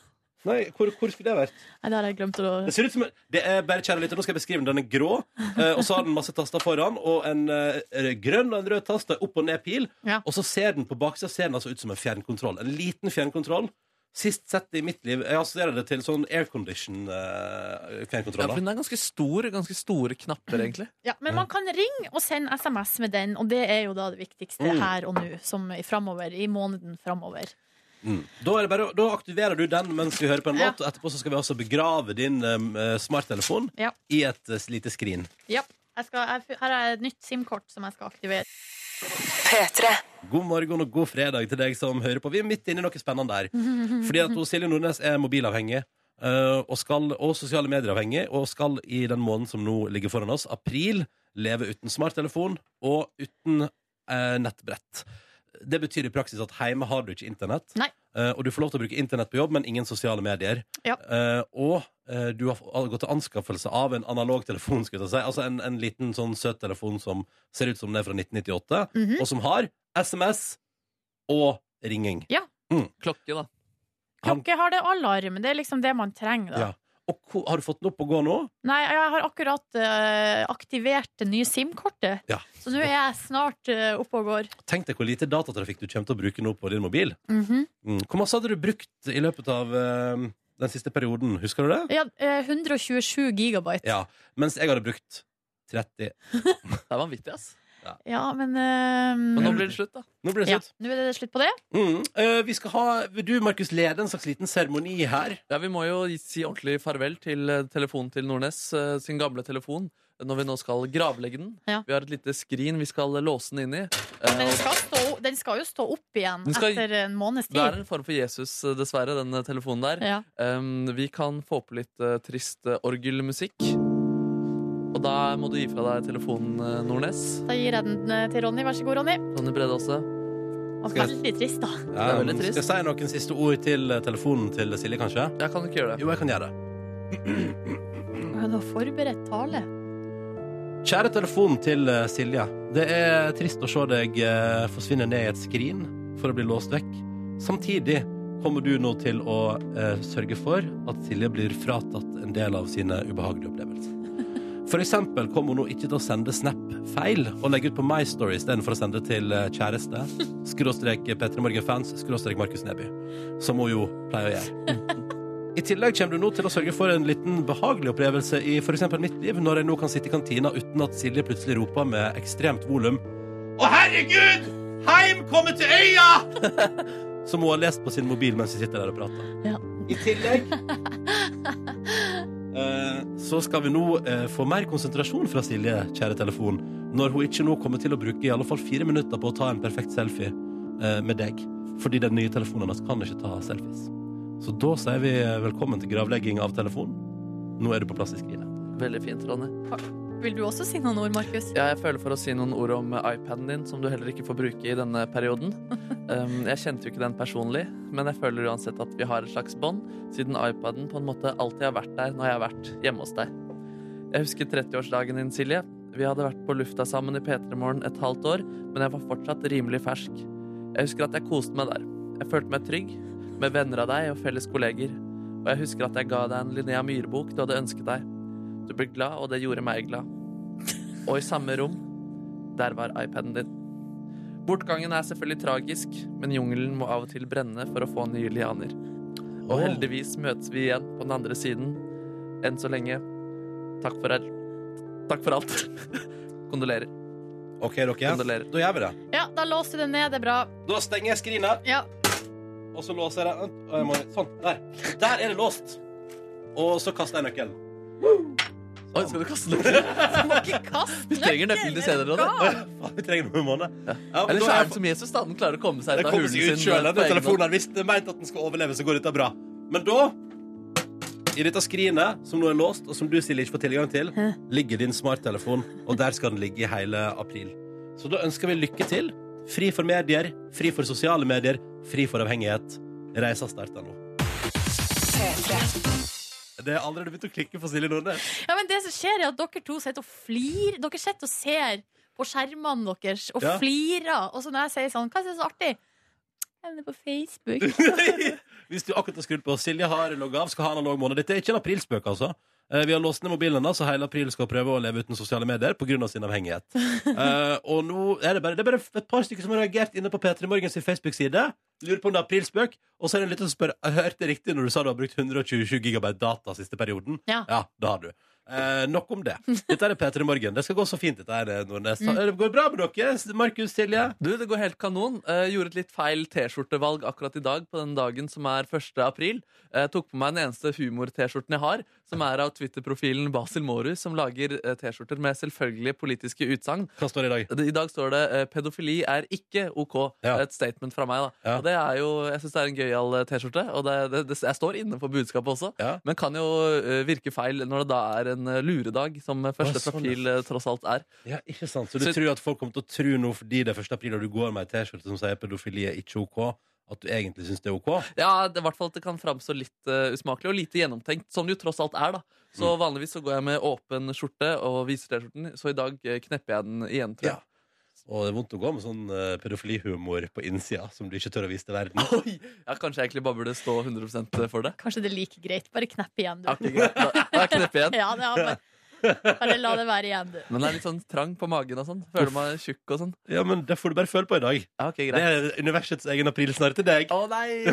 Nei, hvor, hvor skulle det vært?
Nei, det har jeg glemt å
Det ser ut som det er bare kjære lytter, Nå skal jeg beskrive den. Den er grå, eh, og så har den masse taster foran. Og en eh, grønn og en rød tast. Det er Opp og ned pil.
Ja.
Og så ser den på baksida ser den altså ut som en fjernkontroll. En liten fjernkontroll. Sist sett i mitt liv. Jeg assosierer det til sånn eh,
Ja, for
aircondition-fjernkontroller.
Hun er ganske stor. Ganske store knapper, egentlig.
Ja, men man kan ringe og sende SMS med den, og det er jo da det viktigste
Mm.
her og nå, som i framover, i måneden framover.
mm. da, er det bare, å- da aktiverer du den mens vi hører på en
Ja.
låt, og etterpå så skal vi altså begrave din eh, smarttelefon
Ja.
i et eh, lite skrin.
Ja. Jeg skal, jeg, her er et nytt SIM-kort som jeg skal aktivere.
P3.
God morgen og god fredag til deg som hører på. Vi er midt inne i noe spennende her. Fordi at hun, Silje Nordnes er mobilavhengig eh, og, skal, og sosiale medieravhengig, og skal i den måneden som nå ligger foran oss, april, leve uten smarttelefon og uten eh, nettbrett. Det betyr i praksis at hjemme har du ikke internett.
Nei.
eh, og du får lov til å bruke internett på jobb, men ingen sosiale medier.
Ja.
Eh, og eh, du har f- har gått til anskaffelse av en analog telefon, skulle jeg til å si. Altså en, en liten sånn søt telefon som ser ut som den er fra 1998,
Mhm.
og som har SMS og ringing.
Klokke, da.
Han-
Klokke har det alarm, det er liksom det man trenger. da.
Ja. Og ko- har du fått den opp og gå nå?
Nei, jeg har akkurat eh, aktivert det nye SIM-kortet,
Ja.
så nå er jeg snart eh, oppe og går.
Tenk deg hvor lite datatrafikk du kommer til å bruke nå på din mobil.
Mhm.
Mm. Hvor masse hadde du brukt i løpet av eh, den siste perioden. Husker du det?
Ja, eh, 127 gigabyte.
Ja. Mens jeg hadde brukt 30.
Det er vanvittig, ass.
Ja, men eh,
Men nå blir det slutt, da.
Nå blir det
ja.
slutt.
Nå er det slutt på det.
Mm. Eh, vi skal ha, vil du, Markus, lede en slags liten seremoni her?
Ja, Vi må jo si ordentlig farvel til eh, telefonen til Nordnes, eh, sin gamle telefon, når vi nå skal gravlegge den.
Ja.
Vi har et lite skrin vi skal låse den inn i. eh,
Men den
og
skal, stå, den skal jo stå opp igjen
Den skal-
etter en måneds
det er
tid.
en form for Jesus, eh, dessverre, den eh, telefonen der.
Ja.
Um, vi kan få på litt eh, trist eh, orgelmusikk. Og da må du gi fra deg telefonen, eh, Nordnes.
Da gir jeg den eh, til Ronny. Vær så god, Ronny.
Ronny Brede også.
Og
Skal jeg-
veldig trist, da.
er veldig
skal jeg
trist.
si noen siste ord til eh, telefonen til Silje, kanskje?
Jeg kan ikke gjøre det.
Jo, jeg kan gjøre det.
Hun har forberedt tale.
Kjære telefon til eh, Silje. Det er trist å se deg eh, forsvinne ned i et skrin for å bli låst vekk. Samtidig kommer du nå til å eh, sørge for at Silje blir fratatt en del av sine ubehagelige opplevelser. For eksempel kommer hun nå ikke til å sende snap feil og legge ut på My Story istedenfor å sende til eh, kjæreste, skråstrek eh, Petter Morgen-fans, skråstrek Markus Neby. Som hun jo pleier å gjøre. I tillegg kommer du nå til å sørge for en liten behagelig opplevelse i for eksempel mitt liv, når jeg nå kan sitte i kantina uten at Silje plutselig roper med ekstremt volum Å, herregud! Heim kommer til øya! Som hun har lest på sin mobil mens vi sitter der og prater.
Ja.
I tillegg eh, så skal vi nå eh, få mer konsentrasjon fra Silje, kjære telefon, når hun ikke nå kommer til å bruke i alle fall fire minutter på å ta en perfekt selfie eh, med deg. Fordi den nye telefonen hennes kan ikke ta selfies. Så da sier vi eh, velkommen til gravlegging av telefonen. Nå er du på plass i skrinet.
Veldig fint, Ronny.
Vil du også si noen ord, Markus?
Ja, jeg føler for å si noen ord om eh, iPaden din, som du heller ikke får bruke i denne perioden. Um, jeg kjente jo ikke den personlig, men jeg føler uansett at vi har et slags bånd, siden iPaden på en måte alltid har vært der når jeg har vært hjemme hos deg. Jeg husker 30-årsdagen din, Silje. Vi hadde vært på lufta sammen i P3 Morgen et halvt år, men jeg var fortsatt rimelig fersk. Jeg husker at jeg koste meg der. Jeg følte meg trygg, med venner av deg og felles kolleger. Og jeg husker at jeg ga deg en Linnea Myhre-bok du hadde ønsket deg. Du ble glad, og det gjorde meg glad. Og i samme rom, der var iPaden din. Bortgangen er selvfølgelig tragisk, men jungelen må av og til brenne for å få nye lianer. Og heldigvis møtes vi igjen på den andre siden. Enn så lenge, takk for her. Takk for alt. Kondolerer.
OK, dere.
Kondolerer.
Da gjør vi det.
Ja, da låser du den ned. Det er bra.
Da stenger jeg skrinet,
Ja.
og så låser jeg det. Vent, og jeg må- Sånn. Der. Der er det låst. Og så kaster jeg nøkkelen.
Oi, skal du kaste den?
Du må ikke kaste
Vi trenger nøkkelen til senere. Da.
Å, ja, Faen, vi trenger noe i måned. Ja, men da
Eller så
er
er
jeg
den som Jesus, da. Den klarer å komme seg
Det
ut av
kommer
hulen
seg
sin.
ut sjøl,
på
denne
egen hånd.
telefonen. Hvis det er meint at den skal overleve, så går dette bra. Men da, i dette skrinet, som nå er låst, og som du, Silje, ikke får tilgang til, ligger din smarttelefon, og der skal den ligge i hele april. Så da ønsker vi lykke til. Fri for medier, fri for sosiale medier, fri for avhengighet. Reisa starter nå. Det er allerede begynt å klikke for Silje Nordnes.
Ja, men det som skjer er at dere to sitter og flir Dere sitter og ser på skjermene deres og
Ja.
flirer. Og så når jeg sier sånn, hva er det som er så artig? Jeg er på Facebook.
Hvis du akkurat har skrudd på Silje har logget av, skal ha en analog måned. Dette er ikke en aprilspøk, altså. Eh, Vi har låst ned mobilen hennes, så hele april skal prøve å leve uten sosiale medier pga. sin avhengighet. Eh, og nå er det bare, det er bare et par stykker som har reagert inne på P3 Morgens Facebook-side. Lurer på om det er aprilspøk. Og så er det en liten som spør Jeg hørte riktig når du sa du har brukt 127 gigabyte data siste perioden.
Ja.
det har du. Eh, nok om det. Dette er P3 Morgen. Det skal gå så fint, dette her, Nordnes. Det går bra med dere, Markus, Silje?
Du, det går helt kanon. Eh, gjorde et litt feil T-skjortevalg akkurat i dag, på den dagen som er 1. april. Eh, tok på meg den eneste humor-T-skjorten jeg har, som er av Twitter-profilen Basil Mårud, som lager eh, T-skjorter med selvfølgelige politiske utsagn.
Hva står det i dag?
Det- I dag står det eh, 'pedofili er ikke OK'.
Ja.
Et statement fra meg. da
Ja.
Og det er jo, Jeg syns det er en gøyal eh, T-skjorte, og det, det, det, jeg står inne for budskapet også.
Ja.
Men kan jo eh, virke feil når det da er en eh, luredag, som 1.
Å, sånn,
april eh, tross alt er.
Ja, ikke sant? Så du
Så-
tror at folk kommer til å tro nå fordi det er 1. april og du går med ei T-skjorte som sier pedofili er ikke OK, at du egentlig syns det er OK?
Ja, det, i hvert fall at det kan framstå litt eh, usmakelig og lite gjennomtenkt, som det jo tross alt er, da. Så
Mm.
vanligvis så går jeg med åpen skjorte og viser T-skjorten, så i dag eh, knepper jeg den igjen, tror jeg.
Ja. Og det er vondt å gå med sånn eh, pedofilihumor på innsida som du ikke tør å vise til verden.
Oi! Ja, kanskje jeg egentlig bare burde stå 100 for det.
Kanskje det er like greit. Bare knepp igjen,
Ja,
du.
ikke greit. Da da knepper jeg igjen.
Ja, det er bare... Bare la det være igjen, du.
Men det er litt sånn trang på magen og sånn. Føler man er tjukk og sånn.
Ja, men det får du bare føle på i dag.
Ja, ok,
Det
greit.
er universets egen aprilsnarr til deg.
Å nei!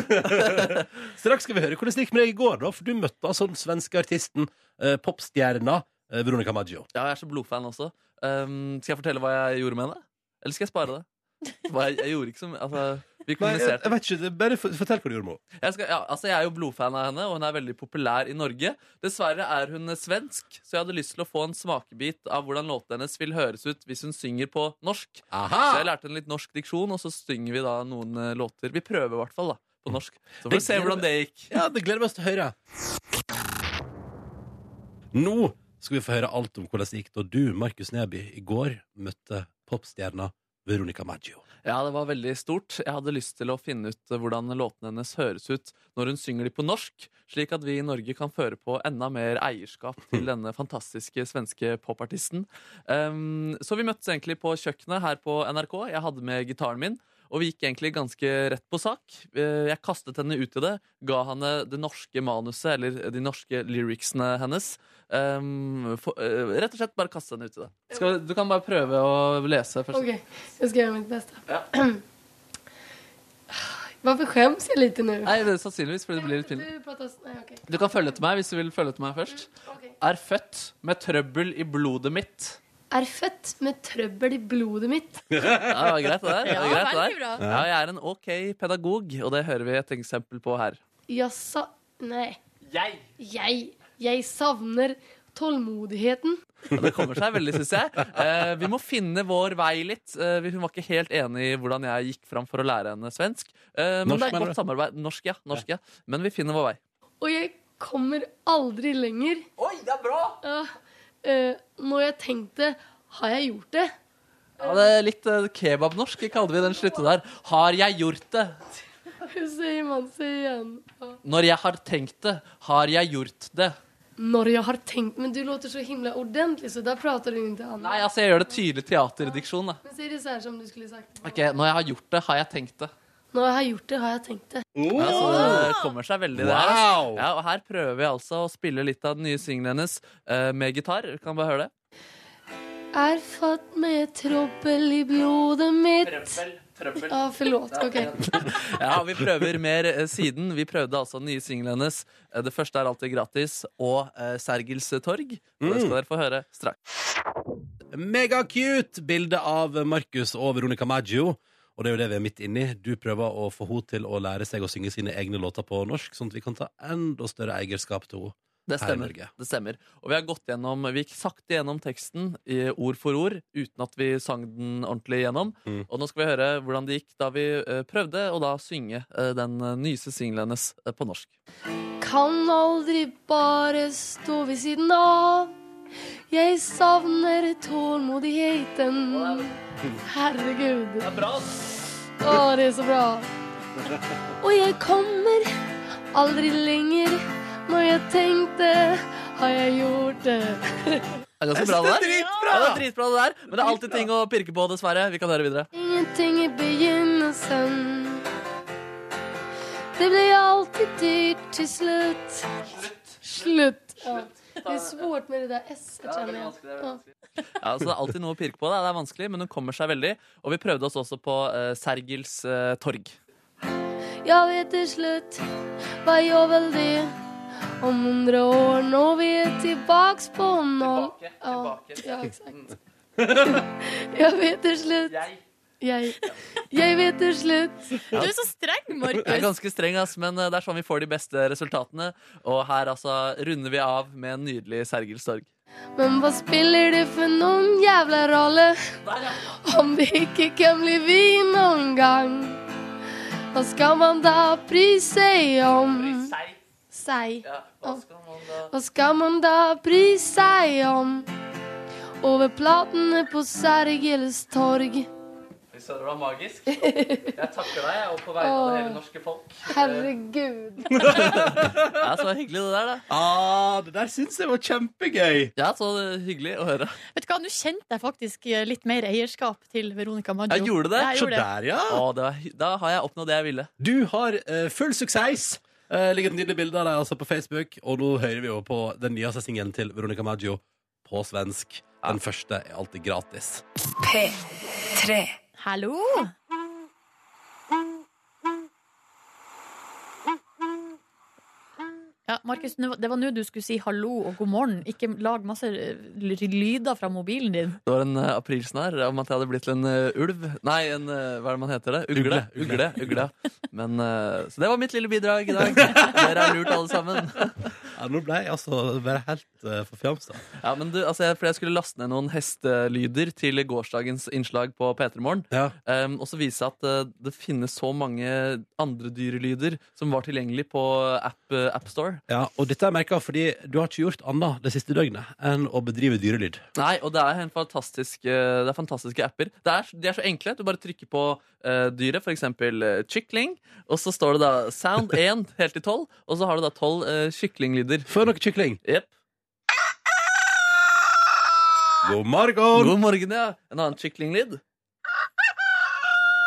Straks skal vi høre hvordan det gikk med deg i går, da, for du møtte altså den svenske artisten, eh, popstjerna eh, Veronica Maggio.
Ja, jeg er så blodfan også. Um, skal jeg fortelle hva jeg gjorde med henne? Eller skal jeg spare det? Hva jeg, jeg gjorde ikke så mye. Altså, vi
Nei, jeg,
kommuniserte.
jeg vet ikke, det- Bare for- fortell hva du gjorde med henne.
Jeg, skal, ja, altså jeg er jo blodfan av henne, og hun er veldig populær i Norge. Dessverre er hun svensk, så jeg hadde lyst til å få en smakebit av hvordan låtene hennes vil høres ut hvis hun synger på norsk.
Aha!
Så jeg lærte henne litt norsk diksjon, og så synger vi da noen eh, låter. Vi prøver i hvert fall da, på norsk. Så får
Mm. Det
vi se
gleder-
hvordan det gikk.
Ja, det gleder vi oss til å høre. Nå skal vi få høre alt om hvordan det gikk da du, Markus Neby, i går møtte popstjerna Veronica Maggio.
Ja, det var veldig stort. Jeg hadde lyst til å finne ut eh, hvordan låtene hennes høres ut når hun synger de på norsk, slik at vi i Norge kan føre på enda mer eierskap til denne fantastiske svenske popartisten. Ehm, så vi møttes egentlig på kjøkkenet her på NRK. Jeg hadde med gitaren min. Og vi gikk egentlig ganske rett på sak. Eh, Jeg kastet henne ut i det, ga henne det norske manuset, eller de norske lyricsene hennes. Ehm, for, eh, rett og slett bare kastet henne ut i det. Skal, du kan bare prøve å lese først.
Okej, jag ska göra mitt bästa. Varför skäms jag lite nu?
Nei, det er sannsynligvis fordi det blir litt pinlig.
Du pratar... s- Nej, okej.
Du kan følge etter meg hvis du vil følge etter meg først.
Okej.
Er født med trøbbel i blodet mitt.
Är fött med tröbbel i blodet mitt.
Ja, det var greit, det der. Det
Ja,
var greit, det
veldig
der.
bra.
Ja, jeg er en OK pedagog, og det hører vi et eksempel på her.
Jag sa... Nej. Jag. Jag savner tålmodigheten.
Ja, det kommer seg veldig, syns jeg. Eh, vi må finne vår vei litt. Eh, vi- hun var ikke helt enig i hvordan jeg gikk fram for å lære henne svensk. Eh, men
Norsk,
det er
mener
godt samarbeid. Norsk, ja. Norsk, ja. Men vi finner vår vei.
Og jeg kommer aldri lenger. Oi, det er bra! Ja, eh, når jeg tenkte Har jeg gjort det?
Ja, det er litt eh, kebabnorsk, kaller vi den slutte der. Har jeg gjort det?
Hur säger man sig igen? Ja.
Når jeg har tenkt det, har jeg gjort det?
Når jeg har tenkt Men du låter så himla ordentlig, så der prater du inte annet.
Nei, altså, jeg gjør det tydelig teaterdiksjon, da.
Men säg det så här som du skulle sagt.
Ok, Når jeg har gjort det, har jeg tenkt det.
Når jeg har gjort det, har jeg tenkt det.
Ja, så det kommer seg veldig det her. altså.
Wow!
Ja, og her prøver vi altså å spille litt av den nye singelen hennes eh, med gitar. Vi Kan bare høre det.
Er født med trøbbel i blodet mitt.
trøbbel.
Ja, forlåt. Ok.
Ja, vi prøver mer eh, siden. Vi prøvde altså den nye singelen hennes. Eh, Det første er alltid gratis, og eh, Sergels torg. Og det skal dere få høre straks.
Megacute bilde av Markus og Veronica Maggio. Og det er jo det vi er midt inni. Du prøver å få henne til å lære seg å synge sine egne låter på norsk, sånn at vi kan ta enda større eierskap til henne.
Det
Her i
stemmer.
Norge.
det stemmer. Og vi har gått gjennom, vi gikk sakte gjennom teksten i ord for ord, uten at vi sang den ordentlig gjennom.
Mm.
Og nå skal vi høre hvordan det gikk da vi eh, prøvde å da synge eh, den eh, nyeste singelen hennes eh, på norsk.
Kan aldri bare stå ved siden av. Jeg savner tålmodigheten. Herregud. Det er bra. Å, det er så bra. Og jeg kommer aldri lenger. Når jeg tenkte, har jeg gjort det.
Det er ganske bra, det der. Ja, det er dritbra det der. Men det er alltid ting å pirke på, dessverre. Vi kan høre videre.
Ingenting i begynnelsen. Det blir alltid dyrt til slutt. Slutt. Ja. Det er svårt med det der S-et, kjenner jeg. Ja.
Ja, så det er alltid noe å pirke på. Det er vanskelig, men hun kommer seg veldig. Og vi prøvde oss også på eh, Sergels eh, torg.
Jeg vet til slutt hva gjør vel det om hundre år når vi er tilbaks på null.
Tilbake,
Ja,
tilbake.
Ja, eksakt. Jeg vet til slutt Jeg, jeg vet til slutt
Du er så streng,
Jeg er
Markus.
ganske streng, ass, men eh, det er sånn vi får de beste resultatene. Og her altså runder vi av med en nydelig Sergels torg.
Men hva spiller det for noen jævla rolle om det ikke kan bli vi noen gang? Hva skal man da bry seg
Mm.
om? Seg. hva skal Hva skal man da bry seg om? Over platene på Sergels torg.
Vi sa det var magisk. Jeg takker deg, og på vegne
av det hele
norske folk.
Herregud.
Ja, Så hyggelig det der, da.
Ah, det der syns jeg var kjempegøy!
Ja, så eh, hyggelig å høre.
Vet du hva, Nå kjente jeg faktisk eh, litt mer eierskap til Veronica Maggio.
Jeg gjorde det.
Jeg
Se
gjorde det.
der, ja!
Å, det var, hy- da har jeg oppnådd det jeg ville.
Du har eh, full suksess! Eh, Uh, Ligger et nydelig bilde av deg altså, på Facebook, og nå hører vi jo på den nyeste singelen til Veronica Maggio på svensk. Den første er alltid gratis.
P3.
Hallo? Ja, Markus, nå- det var nå du skulle si hallo og god morgen. Ikke lag masse eh, ly- lyder fra mobilen din.
Det var en eh, aprilsnarr om at jeg hadde blitt til en eh, ulv. Nei, en, eh, hva er det man heter det? Ugle.
Ugle.
Ugle, ugle. Men, eh, så det var mitt lille bidrag i dag. Dere er lurt, alle sammen.
Ja, nå ble jeg altså bare helt uh, forfjamsa.
Ja, men du, altså, jeg, fordi jeg skulle laste ned noen hestelyder til gårsdagens innslag på P3 Morgen.
Ja.
Um, og så vise at eh, det finnes så mange andre dyrelyder som var tilgjengelig på app, eh, App Store.
Ja, og dette er merka fordi du har ikke gjort annet det siste døgnet enn å bedrive dyrelyd.
Nei, og det er, en fantastisk, eh, det er fantastiske apper. Det er, de er så enkle. Du bare trykker på eh, dyret, f.eks. Uh, kykling, og så står det da sound 1 helt til 12, og så har du da 12 eh, kyklinglyder.
Få noe kykling.
Jep.
God morgen!
God morgen, ja. En annen kyklinglyd.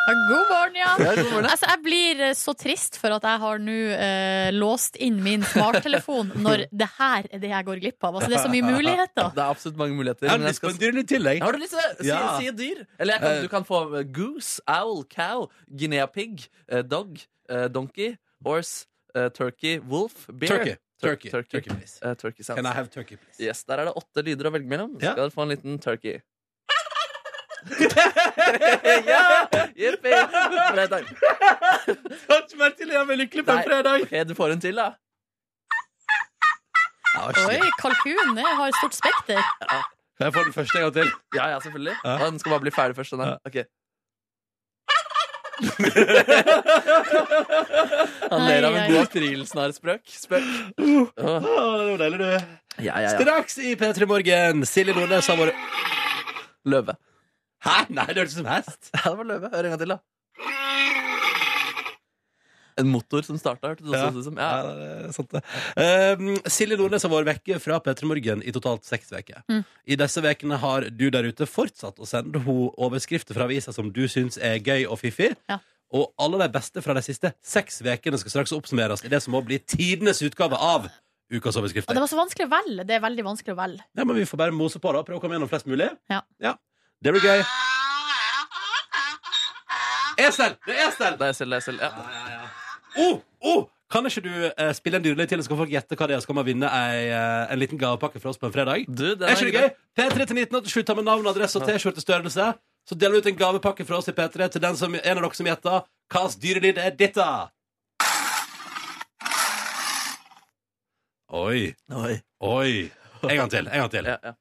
Ja, God morgen, Jan.
Ja, god morgen.
Altså, jeg blir eh, så trist for at jeg har nå eh, låst inn min smarttelefon når det her er det jeg går glipp av. Altså, det er så mye muligheter.
Det er absolutt mange muligheter.
Jeg har
men jeg
lyst på
skal-
en dyrelyd til, jeg.
Har du lyst til det? Si,
Ja.
si et dyr. Eller jeg kan,
Eh.
du kan få eh, goose, owl, cow, guinea pig, eh, dog, eh, donkey, horse, eh, turkey, wolf, bear.
Turkey.
Tur-
Turkey.
turkey.
Turkey, please.
Eh, turkey sounds.
Can I have turkey, please?
Yes, Der er det åtte lyder å velge mellom.
Ja.
Skal du få en liten turkey. ja! Jippi! Fredag.
Takk for meg til, jeg er veldig lykkelig
Nei, ok, du får en til, da.
Ja, vær så
Oi,
snill.
kalkun det har stort spekter.
Kan jeg få den første en gang til?
Ja, ja, selvfølgelig.
Ja.
Å, Den skal bare bli ferdig først. Den
Ja.
her. Ok. Han ler av
Ai,
en
ai.
god aprilsnarrspøk. Spøk. Åh,
Uh. Å, det var deilig, du.
Ja, ja, ja.
Straks i P3 Morgen. Silje Nordnes har vært
Løve.
Hæ? Nei, det hørtes ut som hest.
Ja, det var løve. Hør en gang til, da. En motor som starta, hørte du også
sånn
ut som? Ja.
Ja, det er sant det. Ehm, Silje Nordnes har vært vekke fra P3 Morgen i totalt seks uker.
Mm.
I disse ukene har du der ute fortsatt å sende henne overskrifter fra aviser som du syns er gøy og fiffig.
Ja.
Og alle de beste fra de siste seks ukene skal straks oppsummeres i det som må bli tidenes utgave av Ukas
Og det
overskrifter.
var så vanskelig å velge. Det er veldig vanskelig å velge.
Ja, men vi får bare mose på, da. Prøve å komme gjennom flest mulig.
Ja.
Det blir gøy. Esel! Det er Esel!
Det er selv, det er selv. Ja.
Oh, oh! Kan ikke du eh, spille en dyrelyd til, så kan folk gjette hva det er, så kan man vinne ei, eh, en liten gavepakke fra oss på en fredag?
Du, den
Er ikke det
grei.
gøy? P3 til 1987 tar med navn, adresse og T-skjortestørrelse. Så deler du ut en gavepakke fra oss i P3 til den som, en av dere som gjetter. Hvilken dyrelyd er dette? Oi.
Oi.
Oi. En gang til. En gang til.
Ja, ja.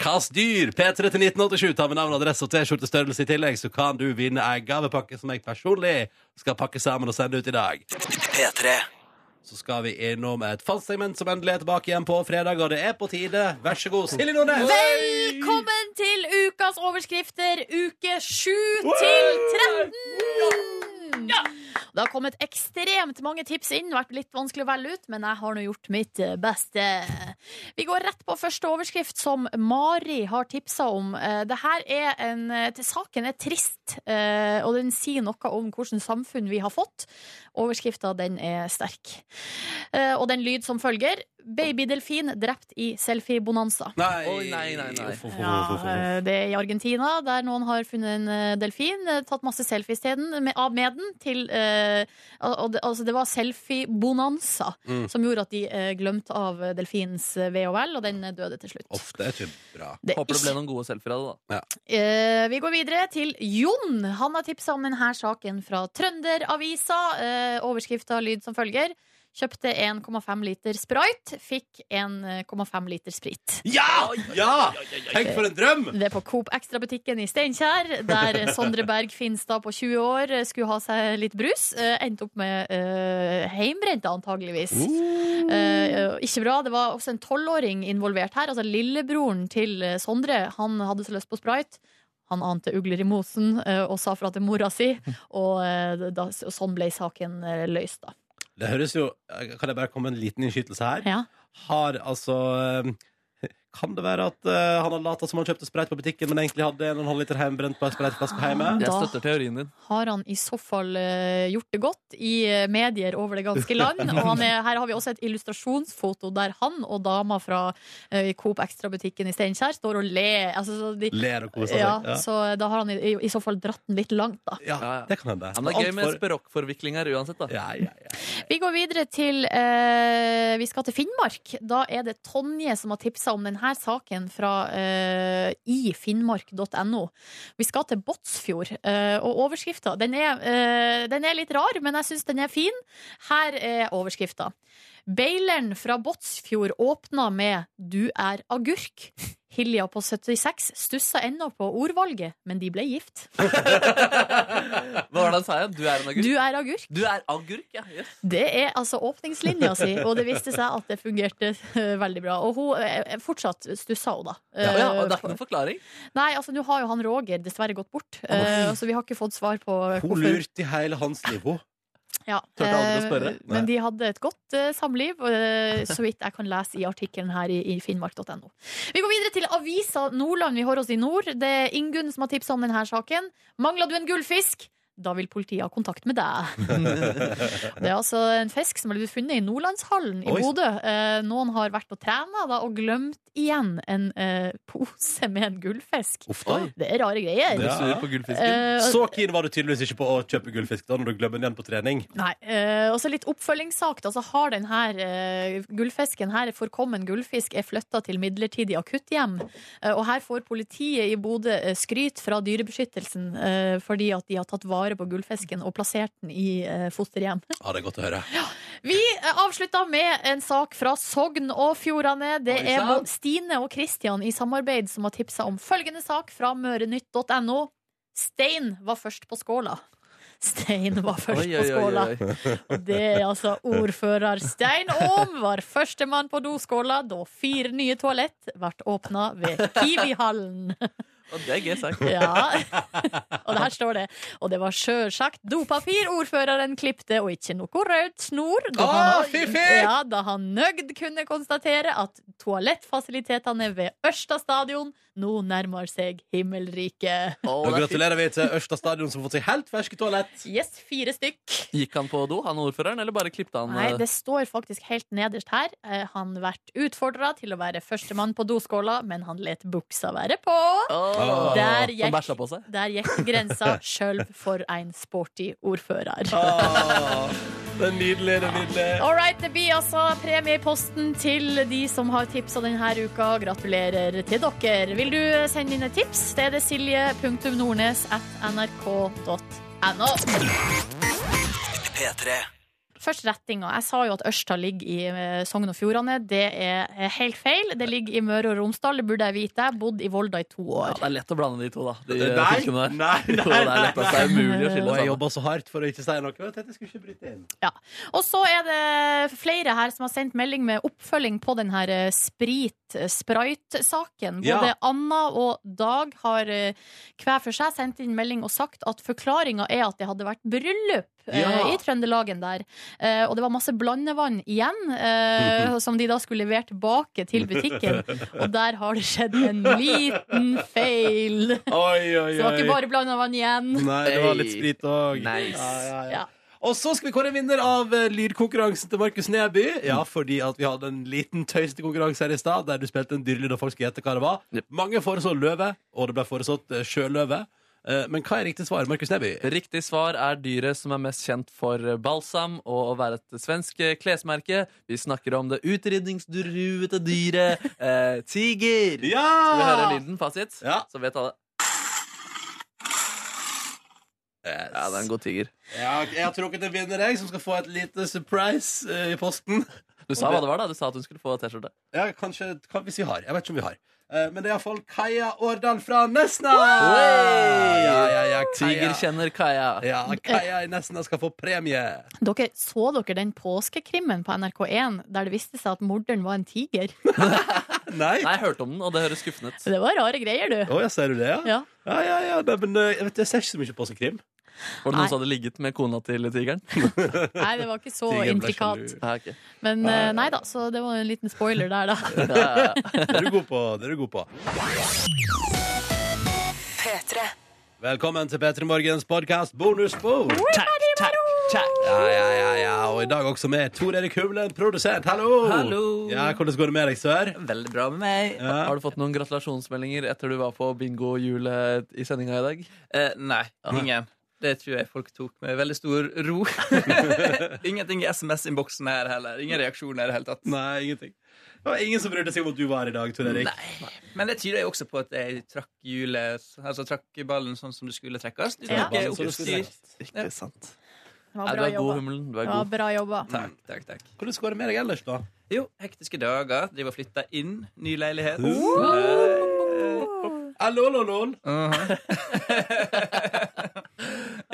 Kast dyr! P3 til 1987 tar med navn, adresse og T-skjortestørrelse i tillegg, så kan du vinne ei gavepakke som jeg personlig skal pakke sammen og sende ut i dag. P3 Så skal vi innom et fast segment som endelig er tilbake igjen på fredag, og det er på tide. Vær så god, Silje Nordnes!
Velkommen til ukas overskrifter, uke 7 til 13! Det har kommet ekstremt mange tips inn, vært litt vanskelig å velge ut, men jeg har nå gjort mitt beste. Vi går rett på første overskrift, som Mari har tipsa om. Eh, Det her er en, eh, til saken er trist, eh, og den sier noe om hvilket samfunn vi har fått. Overskrifta den er sterk. Eh, Og den lyd som følger. Babydelfin drept i selfiebonanza.
Nei.
Oi, nei, nei, nei.
Uff, uff, uff, uff, uff,
Ja,
uff.
eh, det er i Argentina, der noen har funnet en eh, delfin, eh, tatt masse selfies til den, med, av med den. Til, eh, al- og det, altså det var selfie-bonanza
Mm.
som gjorde at de eh, glemte av eh, delfinens eh, ve og vel, og den eh, døde til slutt.
Uff, det er ikke bra.
Det er
Håper det
ikke-
ble noen gode selfier av det, da.
Eh, vi går videre til Jon. Han har tipsa om denne saken fra Trønderavisa. Uh, Overskrifta lyd som følger. Kjøpte 1,5 liter sprite, fikk 1,5 liter sprit.
Ja! Ja! Tenk for en drøm!
Det er på Coop Extra-butikken i Steinkjer, der Sondre Berg Finstad på 20 år eh, skulle ha seg litt brus. Eh, endte opp med eh, heimbrente, antageligvis. Eh, ikke bra. Det var også en tolvåring involvert her. Altså lillebroren til eh, Sondre. Han hadde så lyst på sprite. Han ante ugler i mosen eh, og sa fra til mora si, og, eh, da, og sånn ble saken eh, løst, da.
Det høres jo Kan jeg bare komme med en liten innskytelse her?
Ja.
Har altså eh, Kan det være at eh, han har lata som han kjøpte sprayt på butikken, men egentlig hadde en og en halv liter hjemmebrent på en spraytflaske på hjemme?
Jeg
Da-
støtter teorien din.
har han i så fall eh, gjort det godt i eh, medier over det ganske land. Og han er, her har vi også et illustrasjonsfoto der han og dama fra eh, Coop Extra-butikken i Steinkjer står og ler. Altså, så de,
Ler og koser seg.
ja,
Ja.
så da har han i, i, i så fall dratt den litt langt, da.
Ja,
Ja, ja.
det kan hende.
Ja, men det er gøy med
Alt for-
språkforviklinger uansett, da.
ja, ja, ja.
Vi går videre til eh, Vi skal til Finnmark. Da er det Tonje som har tipsa om denne saken fra eh, ifinnmark.no. Vi skal til Båtsfjord, eh, og overskrifta den, er, eh, den er litt rar, men jeg syns den er fin. Her er overskrifta. Beileren fra Båtsfjord åpna med 'Du er agurk'. Hilja på 76 stussa ennå på ordvalget, men de ble gift.
Hva var det han sa igjen? Du er en agurk?
Du er agurk.
Du er agurk, ja. Yes.
Det er altså åpningslinja si, og det viste seg at det fungerte eh, veldig bra. Og hun eh, fortsatt stussa hun, da.
Ja, ja, og det er
Eh,
ikke noen forklaring.
Nei, altså nå har jo han Roger dessverre gått bort, eh, så vi har ikke fått svar på
Hun
hvorfor.
lurte i hele hans liv, hun.
Ja,
Turte aldri å
eh,
spørre. Nei.
Men de hadde et godt eh, samliv, eh, så vidt jeg kan lese i artikkelen her i, i finnmark.no. Vi går videre til avisa Nordland. Vi holder oss i nord. Det er Ingunn som har tipsa om denne saken. Mangler du en gullfisk? Da vil politiet ha kontakt med deg. Det er altså en fisk som ble funnet i Nordlandshallen i
Oi.
Bodø. Eh, Noen har vært og trena da, og glemt igjen en eh, pose med en gullfisk.
Uff da.
Det er rare greier.
Ja.
Du sur på gullfisken.
Eh,
Så keen var du tydeligvis ikke på å kjøpe gullfisk da når du glemmer den igjen på trening.
Nei, eh, også litt oppfølgingssak. da. Så har den her eh, gullfisken her, forkommen gullfisk, er flytta til midlertidig akutthjem. Eh, og her får politiet i Bodø eh, skryt fra dyrebeskyttelsen eh, fordi at de har tatt vare på gullfisken og plassert den i eh, fosterhjem.
Ja, det er godt å høre.
Vi eh, avslutter med en sak fra Sogn og Fjordane. Det
Oi,
er
sant.
Mo- Stine og Kristian i samarbeid som har tipsa om følgende sak fra mørenytt.no. Stein var først på skåla. Stein var først på skåla. Og Det er altså ordfører Stein Aam var førstemann på doskåla da fire nye toalett ble åpna ved Kiwihallen. Eh.
Og det er gøy sagt.
Ja. Og der står det. Og det var sjølsagt dopapir ordføreren klipte, og ikke noe rød snor. Da
Å, fy, fy!
ja, da han nøgd kunne konstatere at toalettfasilitetene ved Ørsta stadion nå nærmer seg himmelriket.
Og
Å, det er fint.
gratulerer vi til Ørsta stadion, som har fått seg helt ferske toalett.
Yes, fire stykk.
Gikk han på do, han ordføreren, eller bare klippte han?
Nei,
eh,
det står faktisk helt nederst her. Eh, Han vært utfordra til å være førstemann på doskåla, men han let buksa være på.
Åh,
Der
Han
gikk-
bæsja på seg.
Der gikk grensa sjøl for en sporty ordfører.
Ah, det er nydelig, det er nydelig.
All right, det blir altså premie i posten til de som har tipsa denne uka. Gratulerer til dere. Vil du sende inn et tips? Det er det silje.nordnes at nrk.no. Først rettinga. Jeg sa jo at Ørsta ligger i eh, Sogn og Fjordane. Det er eh, helt feil. Det ligger i Møre og Romsdal, det burde jeg vite. Jeg bodde i Volda i to
Ja,
år.
det er lett å blande de to, da. De eh,
Nei,
fylkene der.
nei,
Jo, det er lett, altså. Det er umulig å
Og
skille
jeg
sammen.
jobba så hardt for å ikke si noe. Jeg tenkte jeg skulle ikke bryte inn.
Og så er det flere her som har sendt melding med oppfølging på den her eh, sprit, eh, sprite-saken.
Ja.
Både Anna og Dag har eh, hver for seg sendt inn melding og sagt at forklaringa er at det hadde vært bryllup. eh,
Ja.
I Trøndelagen der. Eh, og det var masse blandevann igjen, eh, som de da skulle levere tilbake til butikken. Og der har det skjedd en liten feil.
Oi, oi,
Så det var ikke bare blandevann igjen.
Nei, det var litt sprit òg.
Nice.
Ja, ja,
Ja.
ja. Og så skal vi kåre en vinner av eh, lydkonkurransen til Markus Neby. Ja, fordi at vi hadde en liten tøysete konkurranse her i stad, der du spilte en dyrelyd og folk skulle gjette hva det var.
Jep.
Mange foreså løve, og det ble foreslått eh, sjøløve. Eh, Men hva er riktig svar, Markus Neby?
Riktig svar er dyret som er mest kjent for eh, balsam og å være et svensk eh, klesmerke. Vi snakker om det utrydningsdruete dyret eh, tiger.
Ja!
Skal vi høre lyden, fasit?
Ja.
Så vet alle. Ja, det er en god tiger.
Ja, jeg har trukket en vinner, jeg, som skal få et lite surprise eh, i posten.
Du sa hva det var, da. Du sa at hun skulle få T-skjorte.
Ja, kanskje, kan, Hvis vi har. Jeg vet ikke om vi har. Eh, men det er iallfall Kaja Årdal fra Nesna!
Oi!
Ja, ja, ja,
Tiger
Kaja.
kjenner Kaja.
Ja, Kaja i Nesna skal få premie.
Dere, så dere den påskekrimmen på NRK1 der det viste seg at morderen var en tiger?
Nei?
Nei, jeg hørte om den, og det høres skuffende ut.
Det var rare greier, du.
Å, ja, ser du det, ja?
Ja.
Ja, ja, ja. Nei, men eh, jeg, vet, jeg ser ikke så mye på seg krim.
Var det
Nei.
noen som hadde ligget med kona til tigeren?
Nei, det var ikke så
Tigeren ble
intrikat.
sjalu.
Nei, ok.
Men eh, nei da, så det var en liten spoiler der, da.
Ja, ja.
Det er du god på. Det er du god på.
P3.
Velkommen til P3 Morgens podkast bonusbord. Ja, ja, ja, ja. Og i dag også med Tor Erik Humlen, produsent. Hallo!
Hallo.
Ja, Hvordan går det med deg, sør?
Veldig bra med meg.
Ja.
Har du fått noen gratulasjonsmeldinger etter du var på bingo-hjulet i sendinga i dag?
Eh, nei, ingen. Det tror jeg folk tok med veldig stor ro. Ingenting i SMS-innboksen her heller. Ingen reaksjoner i det hele tatt.
Nei, ingenting. Det var ingen som brydde seg om at du var her i dag, Tor Erik.
Nei. Men det tyder jo også på at jeg trakk hjulet Altså trakk ballen sånn som det skulle trekkes. Du
Ja.
trakk
Ballen som
opp
det skulle
styr.
trekkes.
Ikke sant.
Det var
Nei, du
bra
er god,
jobba.
Hummelen. Du
Det
er
var
god.
bra jobba.
Takk, takk, takk.
Hvordan går det med deg ellers, da?
Jo, hektiske dager. Driver og flytter inn. Ny leilighet.
Allololol.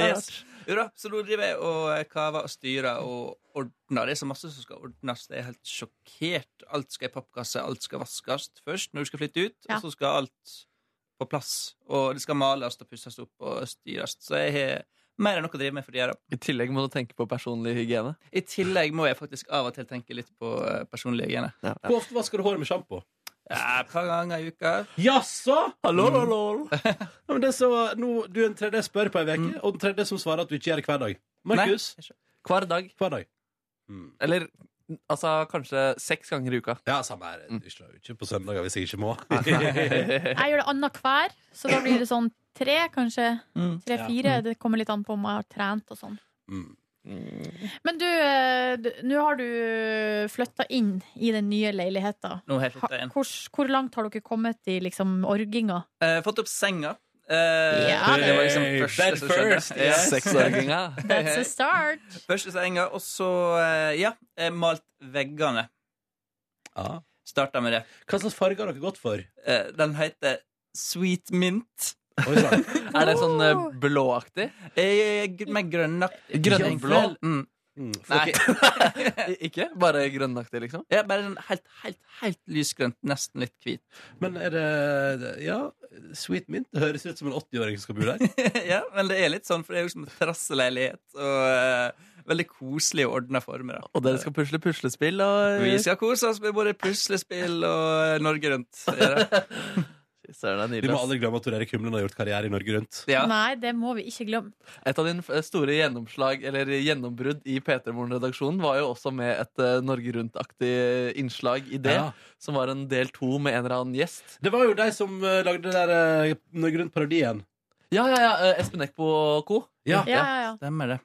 Yes. Jo da, så nå driver jeg og eh, kaver og styrer og ordner. Det er så masse som skal ordnes. Det er helt sjokkert. Alt skal i pappkasse, alt skal vaskes først når du skal flytte ut.
Ja.
Og så skal alt på plass. Og det skal males og pusses opp og styres. Så jeg har mer enn nok å drive med for tida.
I tillegg må du tenke på personlig hygiene.
I tillegg må jeg faktisk av og til tenke litt på eh, personlig hygiene.
Hvor ofte vasker du håret med sjampo?
Ja, et par ganger i uka.
Jaså? Mm.
Hallo, hallo, hallo.
Ja, men det er så, nå, du er den tredje jeg spør på ei uke, og den tredje som svarer at du ikke gjør det hver dag. Markus?
Nei,
Hver dag.
Hver dag.
Eller altså kanskje seks ganger i uka.
Mm. Ja, samme her. Ikke, ikke på søndager hvis jeg ikke må.
Jeg gjør det annenhver, så da blir det sånn tre, kanskje.
Mm.
Tre-fire. Det kommer litt an på om jeg har trent og sånn.
Mm.
Men du, eh, d- nå har du flytta inn i den nye leiligheta.
Nå har jeg
Ha-
flytta inn.
Hvor, hvor langt har dere kommet i liksom orginga?
Eh, fått opp senga. Eh,
Ja,
det var liksom
Hey,
første
bed
som skjedde.
first,
Ja.
yes.
Seksåringa.
That's a start!
Første senga, og så eh, ja, eh, malt veggene.
Ja.
Starta med det.
Hva slags farge har dere gått for?
Eh, den heter Sweet Mint.
Oi sann.
Er det sånn eh, blåaktig?
Eh, gr- med grønnaktig.
Grønnblå?
Mm.
Mm,
Nei.
ok.
I- Ikke? Bare grønnaktig, liksom?
Ja, bare sånn helt, helt, helt lysgrønt. Nesten litt hvit.
Men er det Ja, Sweet Mint det høres ut som en 80-åring som skal bo der.
ja, men det er litt sånn, for det er jo som en terrasseleilighet. Og eh, veldig koselig og ordna former. da.
Og dere skal pusle puslespill og
Vi skal kose oss med både puslespill og eh, Norge Rundt. Ja,
Søren, det er
Vi
nydelig.
må
ass.
aldri glemme at Tor Erik Humlen har gjort karriere i Norge Rundt.
ja.
Nei, det må vi ikke glemme.
Et av dine f- store gjennomslag Eller gjennombrudd i P3 Morgen-redaksjonen var jo også med et eh, Norge Rundt-aktig eh, innslag i det,
Ja.
som var en del to med en eller annen gjest.
Det var jo de som eh, lagde det der eh, Norge Rundt-parodien.
Ja, ja, ja, eh, Espen Eckbo og co.
Ja.
Ja, ja, ja.
Stemmer det.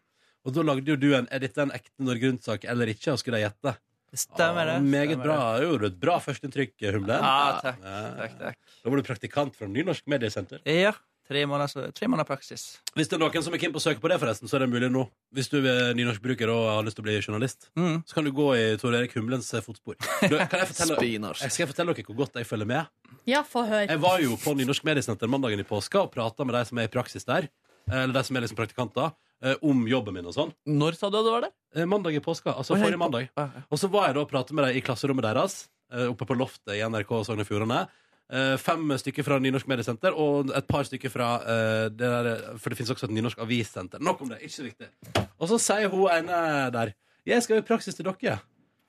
Og da lagde jo du en 'Er dette en ekte Norge Rundt-sak eller ikke?' og skulle de gjette.
Stemmer det.
Ah, meget
Stemmer
bra.
det.
Jo, det er et bra førsteinntrykk, Humlen.
Ja, takk.
Ja.
takk, takk.
Da var du praktikant fra Nynorsk Mediesenter.
Ja. Tre måneder, tre måneder praksis.
Hvis det er noen som er keen på å søke på det, forresten, så er det mulig nå. Hvis du er nynorskbruker og har lyst til å bli journalist,
Mm.
så kan du gå i Tor Erik Humlens eh, fotspor. Du, kan jeg fortelle
Eh,
Spinars.
Jeg skal fortelle dere hvor godt jeg følger med.
ja få høre.
Jeg var jo på Nynorsk Mediesenter mandagen i påska og prata med de som er i praksis der, eller de som er liksom praktikanter, eh, om jobben min og sånn.
Når sa du at det var der?
Eh, Mandag i påska, altså
Oi, hei.
forrige mandag.
Ah,
Og så var jeg da og pratet med dem i klasserommet deres, eh, oppe på loftet i NRK Sogn og Fjordane. Eh, Fem stykker fra Nynorsk Mediesenter og et par stykker fra eh, det der, For det finnes også et nynorsk avissenter. Nok om det, ikke så viktig. Og så sier hun ene der 'Jeg skal jo i praksis til dere'.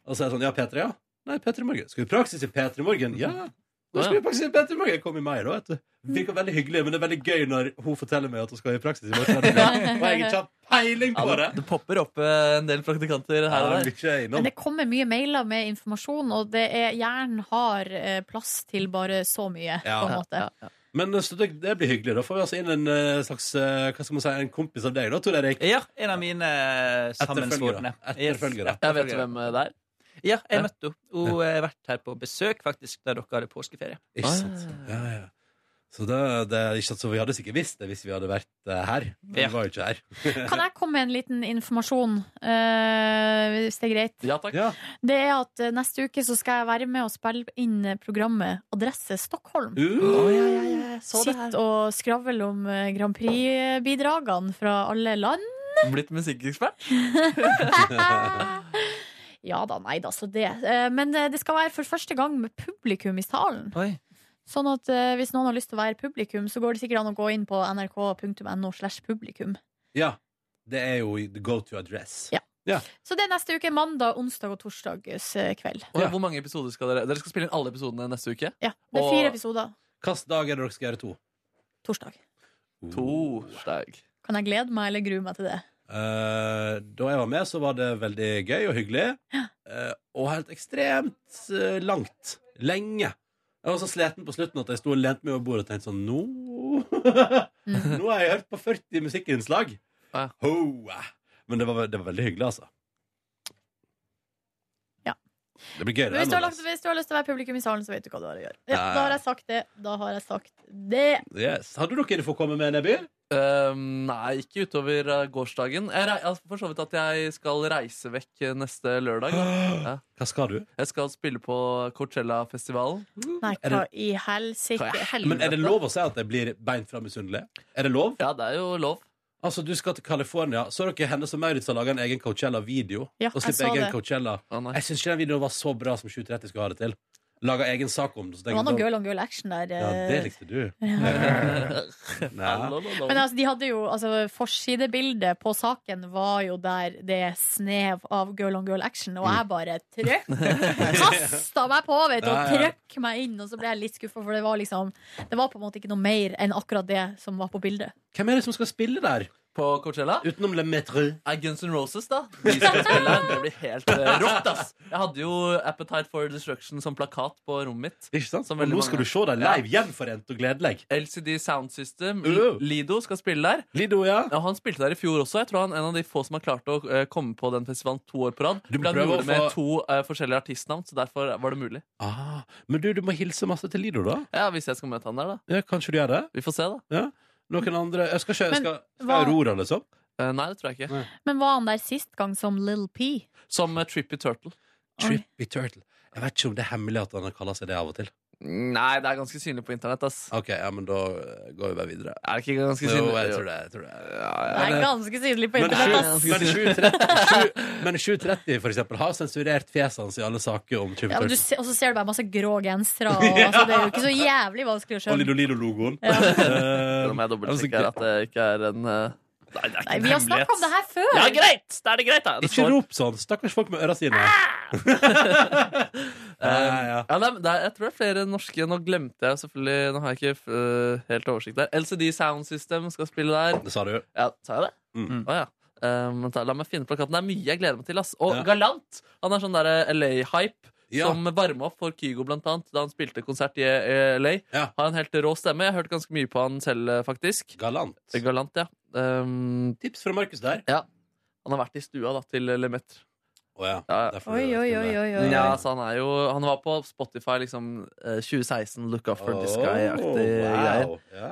Og så er jeg sånn 'Ja, P3, ja?' 'Nei, P3 Morgen'. 'Skal du i praksis i P3 Morgen?' 'Ja'. Nå skal vi i praksis i P3 Morgen. Kom i mai, da. vet du Virker veldig hyggelig, men det er veldig gøy når hun forteller meg at hun skal i praksis i morgen. Og jeg ikke har peiling
Ah,
på
ja.
det.
Ja, det popper opp eh, en del praktikanter her og
Ja,
der.
mye innom.
Men det kommer mye mailer med informasjon, og det er, hjernen har eh, plass til bare så mye.
Ja.
på en måte.
Men eh, så det, det blir hyggelig. Da får vi altså inn en eh, slags eh, Hva skal man si, en kompis av deg, da, Tor Erik.
Ja, en av mine eh, sammensvorne.
Etterfølgere.
Jeg vet du hvem eh, det er.
Ja,
Ja.
jeg møtte henne. Hun eh, har vært her på besøk faktisk da dere hadde påskeferie.
Ikke sant? Ja, ja. Så det, det er ikke sant, så vi hadde sikkert visst det hvis vi hadde vært eh, her. Men
Ja.
vi var jo ikke her.
Kan jeg komme med en liten informasjon, eh, hvis det er greit?
Ja takk.
Ja.
Det er at eh, neste uke så skal jeg være med og spille inn eh, programmet Adresse Stockholm.
Uh,
Sitt og skravle om eh, Grand Prix-bidragene fra alle land.
Blitt musikkekspert.
ja da, nei da, så det. Eh, Men eh, det skal være for første gang med publikum i salen.
Oi.
Sånn at eh, hvis noen har lyst til å være publikum, så går det sikkert an å gå inn på nrk.no slash publikum.
Ja. Det er jo the go to address.
Ja. Så det er neste uke. Mandag, onsdag og torsdags eh, kveld.
Og
Ja.
Hvor mange episoder skal dere Dere skal spille inn alle episodene neste uke?
Ja, Det er fire
Og-
episoder.
Hvilken dag er det dere skal gjøre to?
Torsdag.
Torsdag.
Kan jeg glede meg eller grue meg til det?
Eh, da jeg var med, så var det veldig gøy og hyggelig. Eh, og helt ekstremt eh, langt. Lenge. Jeg var så sliten på slutten at jeg sto og lente meg over bordet og tenkte sånn Nå
Mhm.
Nå har jeg hørt på 40 musikkinnslag.
Ja.
Hoa. Men det var, det var veldig hyggelig, altså.
Ja.
Det blir gøy,
Men
det.
hvis du, har
Nordnes.
lagt, hvis du har lyst til å være publikum i salen, så vet du hva du har å gjøre. Ja,
Ja, ja.
da har jeg sagt det. Da har jeg sagt det.
Yes. Hadde dere fått komme med, Neby?
Ehm, nei, ikke utover eh, gårsdagen. Jeg rei- altså, for så vidt at jeg skal reise vekk eh, neste lørdag. da.
Hva skal du?
Jeg skal spille på Coachella-festivalen.
Nei,
Er
hva
det-
i
Hva i
helsike.
helvete?
Men er det lov å si at jeg blir beint fra misunnelig? Er det lov?
Ja, det er jo lov.
Altså, du skal til California. Så dere Hennes og Maurits har laga en egen Coachella-video?
Ja,
og
jeg
slipper
så
egen
det.
Coachella.
Å, nei.
Jeg syns ikke den videoen var så bra som 730 skulle ha det til. Laga egen sak om det. Så
Det
tenker
var noe
jeg
girl on girl action der.
sånn, ja,
eh.
det likte du. Nei.
Hallo, hallo.
Sånn.
Men altså, de hadde jo, altså, forsidebildet på saken var jo der det er snev av girl on girl action,
Mm.
og jeg bare trøkk Kasta meg på, vet du, og
Ja, ja.
trøkk meg inn, og så ble jeg litt skuffa, for det var liksom Det var på en måte ikke noe mer enn akkurat det som var på bildet.
Hvem er det som skal spille der?
På Coachella
Utenom Le Metre.
er Guns N' Roses, da. De skal spille. Det blir helt eh, rått, ass. Jeg hadde jo Appetite for Destruction som plakat på rommet mitt.
Ikke sant?
Som
Og
veldig
nå
mange-
skal du se dem live, gjenforent og gledelig.
LCD Sound System.
Uh.
Lido skal spille der.
Lido, ja.
Ja, han spilte der i fjor også. Jeg tror han er en av de få som har klart å eh, komme på den festivalen to år på rad.
Du
For han
prøver
gjorde
å
det med
få-
to eh, forskjellige artistnavn, så derfor var det mulig.
Ah, men du, du må hilse masse til Lido, da.
Ja, Hvis jeg skal møte han der, da.
Ja, kanskje du gjør det?
Vi får se, da.
Noen andre Jeg skal
Mm. Men
ikke jeg skal, skal
hva-
Aurora, liksom?
Eh, nei, det tror jeg ikke.
Men var han der sist gang som Lil P?
Som eh, Trippy Turtle.
Trippy Turtle. Jeg vet ikke om det er hemmelig at han har kalla seg det av og til.
Nei, det er ganske synlig på internett, ass.
Ok, ja, men da eh, går vi bare videre.
Er det ikke ganske
Jo,
synlig?
jeg tror det. Jeg tror det.
Det er ganske synlig på
Men
internett.
sju-
ass.
men 730 sju- Men 730 for eksempel har sensurert fjeset hans i alle saker om Trippy
Ja, men du,
Turtle.
se- og så ser du bare masse grå gensere, og altså, det er jo ikke så jævlig vanskelig å
Og
skjønne.
Lido Lido-logoen. Eh,
Selv om jeg
altså,
dobbeltsjekker at det ikke er en eh, Nei, det er ikke
Nei,
en
vi har snakka om det her før!
Ja, greit! Da er det greit, da. Det
Ikke
står-
rop sånn! Stakkars folk med øra sine.
Eh,
ja, ja.
Ja, nei, men det er, jeg tror det er flere norske. Nå glemte jeg selvfølgelig Nå har jeg ikke eh, helt oversikt der. LCD Sound System skal spille der.
Det sa du.
Ja, sa jeg det?
Mm.
Å, ja. Um, ta, la meg finne plakaten. Det er mye jeg gleder meg til. Ass. Og
Ja.
Galant! Han er sånn der eh, LA-hype.
Ja.
Som varma opp for Kygo blant annet da han spilte konsert i eh, LA.
Ja.
Har en helt rå stemme. Jeg har hørt ganske mye på han selv, eh, faktisk.
Galant.
Galant, ja. Um,
Tips fra Markus der.
han har vært i stua da til Lemetre.
Å ja.
Ja.
Derfor
Oi, oi, oi, oi, oi.
Ja, så han er jo Han var på Spotify liksom eh, 2016, Look Up for This
Oh,
Guy-aktig greier.
wow. Ja.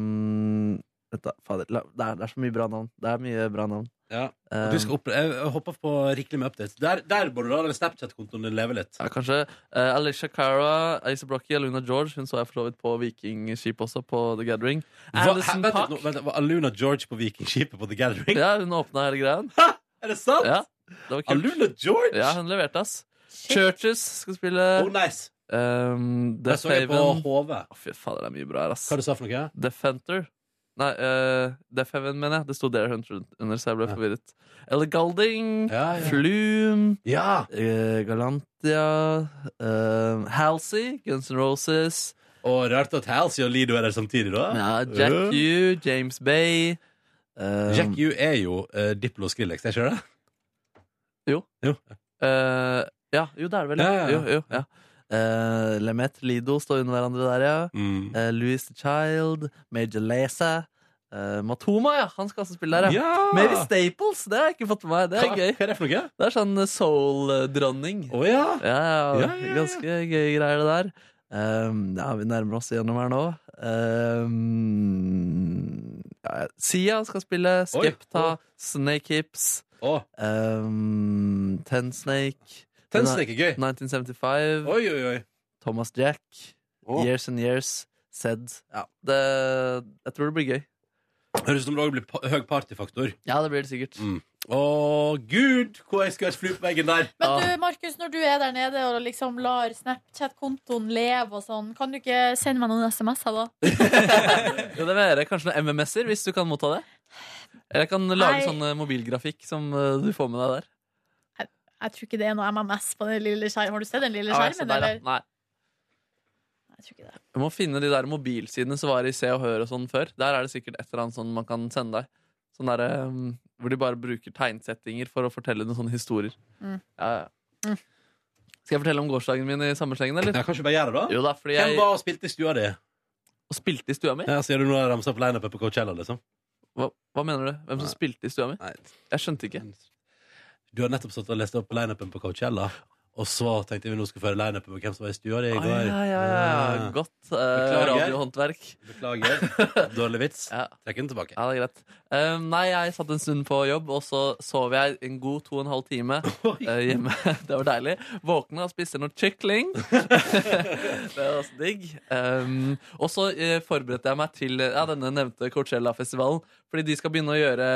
Um, vent da, fader, la, det, er, det er så mye bra navn. Det er mye bra navn.
Ja.
Um,
Du skal opp, jeg jeg hopper på rikelig med updates. Der, der burde du la den Snapchat-kontoen din leve litt.
ja, kanskje eh, Alicia Cara, Asa Brocky, Aluna George. Hun så jeg for så vidt på Vikingskip også, på The Gathering.
Hva-
Alison
vent litt
Park.
nå, vent litt, Var Aluna George på Vikingskipet på The Gathering?
Ja, hun åpna hele greia.
Er det sant?
Ja, det var kult.
Aluna George?
Ja, hun eh, leverte, ass. Churches skal spille.
Oh, nice.
Um,
Det
Death
så jeg på
Haven.
HV.
Å, Fy fader, det er mye bra her, ass.
Hva du sa for noe?
Death Hunter. Nei, uh, Death Heaven, mener jeg. Det sto Dare Hunter under, så jeg ble
Ja.
forvirret. Eller Golding,
Ja, ja.
Flume,
Ja!
eh, Galantia, eh, Halsey, Guns N' Roses,
Og rart at Halsey og Lido er der samtidig, da.
ja, Jack
Øh.
U, James Bay eh,
Jack U er jo eh, Diplo og Skrillex, er ikke det?
eh, Ja, jo, det er det vel. Ja,
Ja, ja, ja.
Jo, jo, ja. Eh, Lemaitre, Lido står under hverandre der, ja.
Mm.
Eh, Louis the Child, Major Lazer, eh, Matoma, ja. Han skal også spille der, ja.
Ja!
Mary Staples, det har jeg ikke fått med meg. Det
Hva-
er gøy.
Hva er det for noe?
Det er sånn soul-dronning.
Å ja!
Ja, ja,
Ja, ja, ja.
Ganske gøye greier, det der. Ehm, ja, vi nærmer oss gjennom her nå. Ehm, ja, Sia skal spille. Skepta.
å.
Snake Hips.
Å,
Um, Ten Snake.
Tennsnake er gøy.
1975.
Oi, oi, oi.
Thomas Jack.
Å.
Years and Years. Sed. Ja, det, jeg tror det blir gøy.
Høres ut som det også blir pa høy partyfaktor.
Ja, det blir det sikkert.
Mm. Å gud, hvor jeg skulle hatt flue på veggen der!
Men du, Markus, når du er der nede og liksom lar Snapchat-kontoen leve og sånn, kan du ikke sende meg noen SMS-er da?
Jo, det vil jeg gjøre. Kanskje noen MMS-er, hvis du kan motta det? Eller jeg kan lage
Nei.
sånn eh, mobilgrafikk som eh, du får med deg der.
Jeg tror ikke det er noe MMS på den lille skjermen. Har du sett den lille
Ja, jeg ser
skjermen,
der, ja.
eller?
Nei.
Jeg tror ikke det.
Du må finne de der mobilsidene som var i Se og Hør og sånn før. Der er det sikkert et eller annet sånn man kan sende deg. Sånn der, um, hvor de bare bruker tegnsettinger for å fortelle noen sånne historier.
Mm.
Ja, ja. Skal jeg fortelle om gårsdagen min i samme slengen, eller?
Jeg kan ikke bare gjøre det, da.
Jo da, fordi
Hvem
jeg
var og spilte i stua di?
spilte i stua mi.
Ja, Sier du nå har jeg ramset opp lineupet på Coachella, liksom?
Hva, hva mener du? Hvem som
Nei.
spilte i stua mi?
Nei.
Jeg skjønte ikke.
Du har nettopp stått og lest opp lineupen på Coachella, og så tenkte vi nå skal føre lineupen på hvem som var i stua di i
Ah,
går.
ja, ja, ja.
Ah,
Godt eh,
Beklager.
radiohåndverk.
Beklager. Dårlig vits.
Ja.
Trekk den tilbake.
Ja, det er greit. Eh, nei, jeg satt en stund på jobb, og så sov jeg en god to og en halv time eh, hjemme. Det var deilig. Våkna og spiste noe kykling. det var også digg. Um, og så eh, forberedte jeg meg til eh, ja, denne nevnte Coachella-festivalen, fordi de skal begynne å gjøre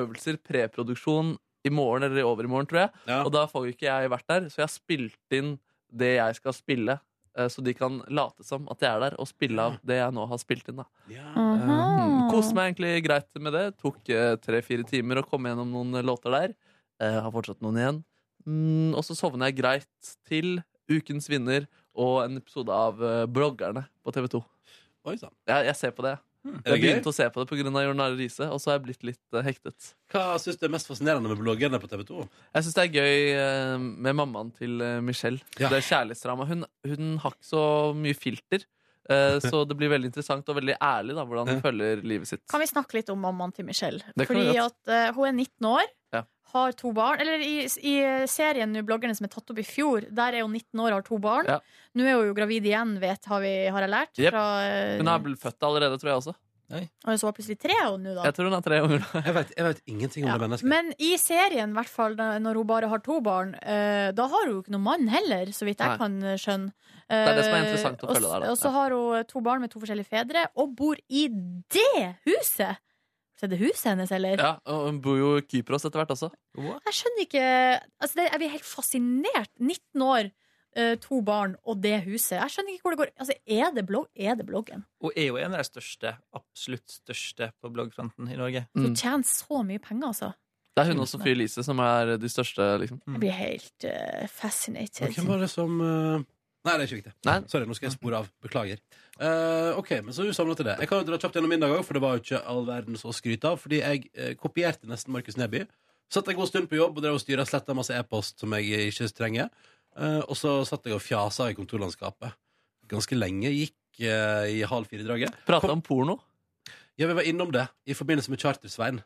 øvelser, preproduksjon, i morgen eller i overmorgen, tror jeg.
Ja.
Og da får jo ikke jeg vært der, så jeg har spilt inn det jeg skal spille. eh, Så de kan late som at jeg er der, og spille av det jeg nå har spilt inn. da
Ja.
Um, Koste meg egentlig greit med det. Tok eh, tre-fire timer å komme gjennom noen låter der. Eh, har fortsatt noen igjen. Mm, og så sovner jeg greit til Ukens vinner og en episode av eh, Bloggerne på TV2.
Oi sann.
Jeg, jeg ser på det.
Er
Jeg
det gøy?
begynte å se på det pga. Jorn Are Riise, og så har jeg blitt litt eh, hektet.
Hva syns du er mest fascinerende med bloggerne på TV 2?
Jeg syns det er gøy eh, med mammaen til eh, Michelle.
Ja.
Det er kjærlighetsdrama. Hun, hun har ikke så mye filter. eh, Så det blir veldig interessant og veldig ærlig da, hvordan hun følger livet sitt.
Kan vi snakke litt om mammaen til Michelle?
Det kan vi
Fordi at eh, hun er 19 år,
Ja.
har to barn. Eller i, i serien nå, bloggerne som er tatt opp i fjor, der er hun 19 år og har to barn.
Ja.
Nå er hun jo gravid igjen, vet har, vi, har jeg lært.
Jep.
Fra, eh,
Hun er vel født allerede, tror jeg også.
og så var plutselig tre hun nå, da.
Jeg tror hun har tre unger. da.
Jeg vet, jeg vet ingenting om
Ja.
det mennesket.
Men i serien, i hvert fall da- når hun bare har to barn, eh, da har hun jo ikke noen mann heller, så vidt jeg
Nei.
kan eh, skjønne.
er det som er interessant å
Eh, og
følge
s-
der, da.
Og så
Ja.
har hun eh, to barn med to forskjellige fedre, og bor i det huset! Så er det huset hennes, eller?
Ja, og hun bor jo i Kypros etter hvert også.
Jeg skjønner ikke altså det, Jeg blir helt fascinert. 19 år, eh, to barn og det huset. Jeg skjønner ikke hvor det går. Altså, er, det blogg, er det bloggen?
Og er jo en av de største, absolutt største, på bloggfronten i Norge.
Du
Mm.
tjener så mye penger, altså.
Det er hun og Sophie Elise som er de største, liksom.
Mm.
Jeg blir helt eh, fascinated.
Og Hvem var det som eh, Nei, det er ikke viktig.
Nei.
Sorry, nå skal jeg spore av. Beklager. Eh, OK, men så du samla til det. Jeg kan jo dra kjapt gjennom min dag òg, for det var jo ikke all verdens å skryte av. Fordi jeg eh, kopierte nesten Markus Neby. Satt en god stund på jobb og drev og styra sletta masse e-post som jeg ikke trenger. Eh, og så satt jeg og fjasa i kontorlandskapet ganske lenge. Gikk eh, i halv fire-draget.
Prate om porno.
Ja, vi var innom det i forbindelse med Charter-Svein.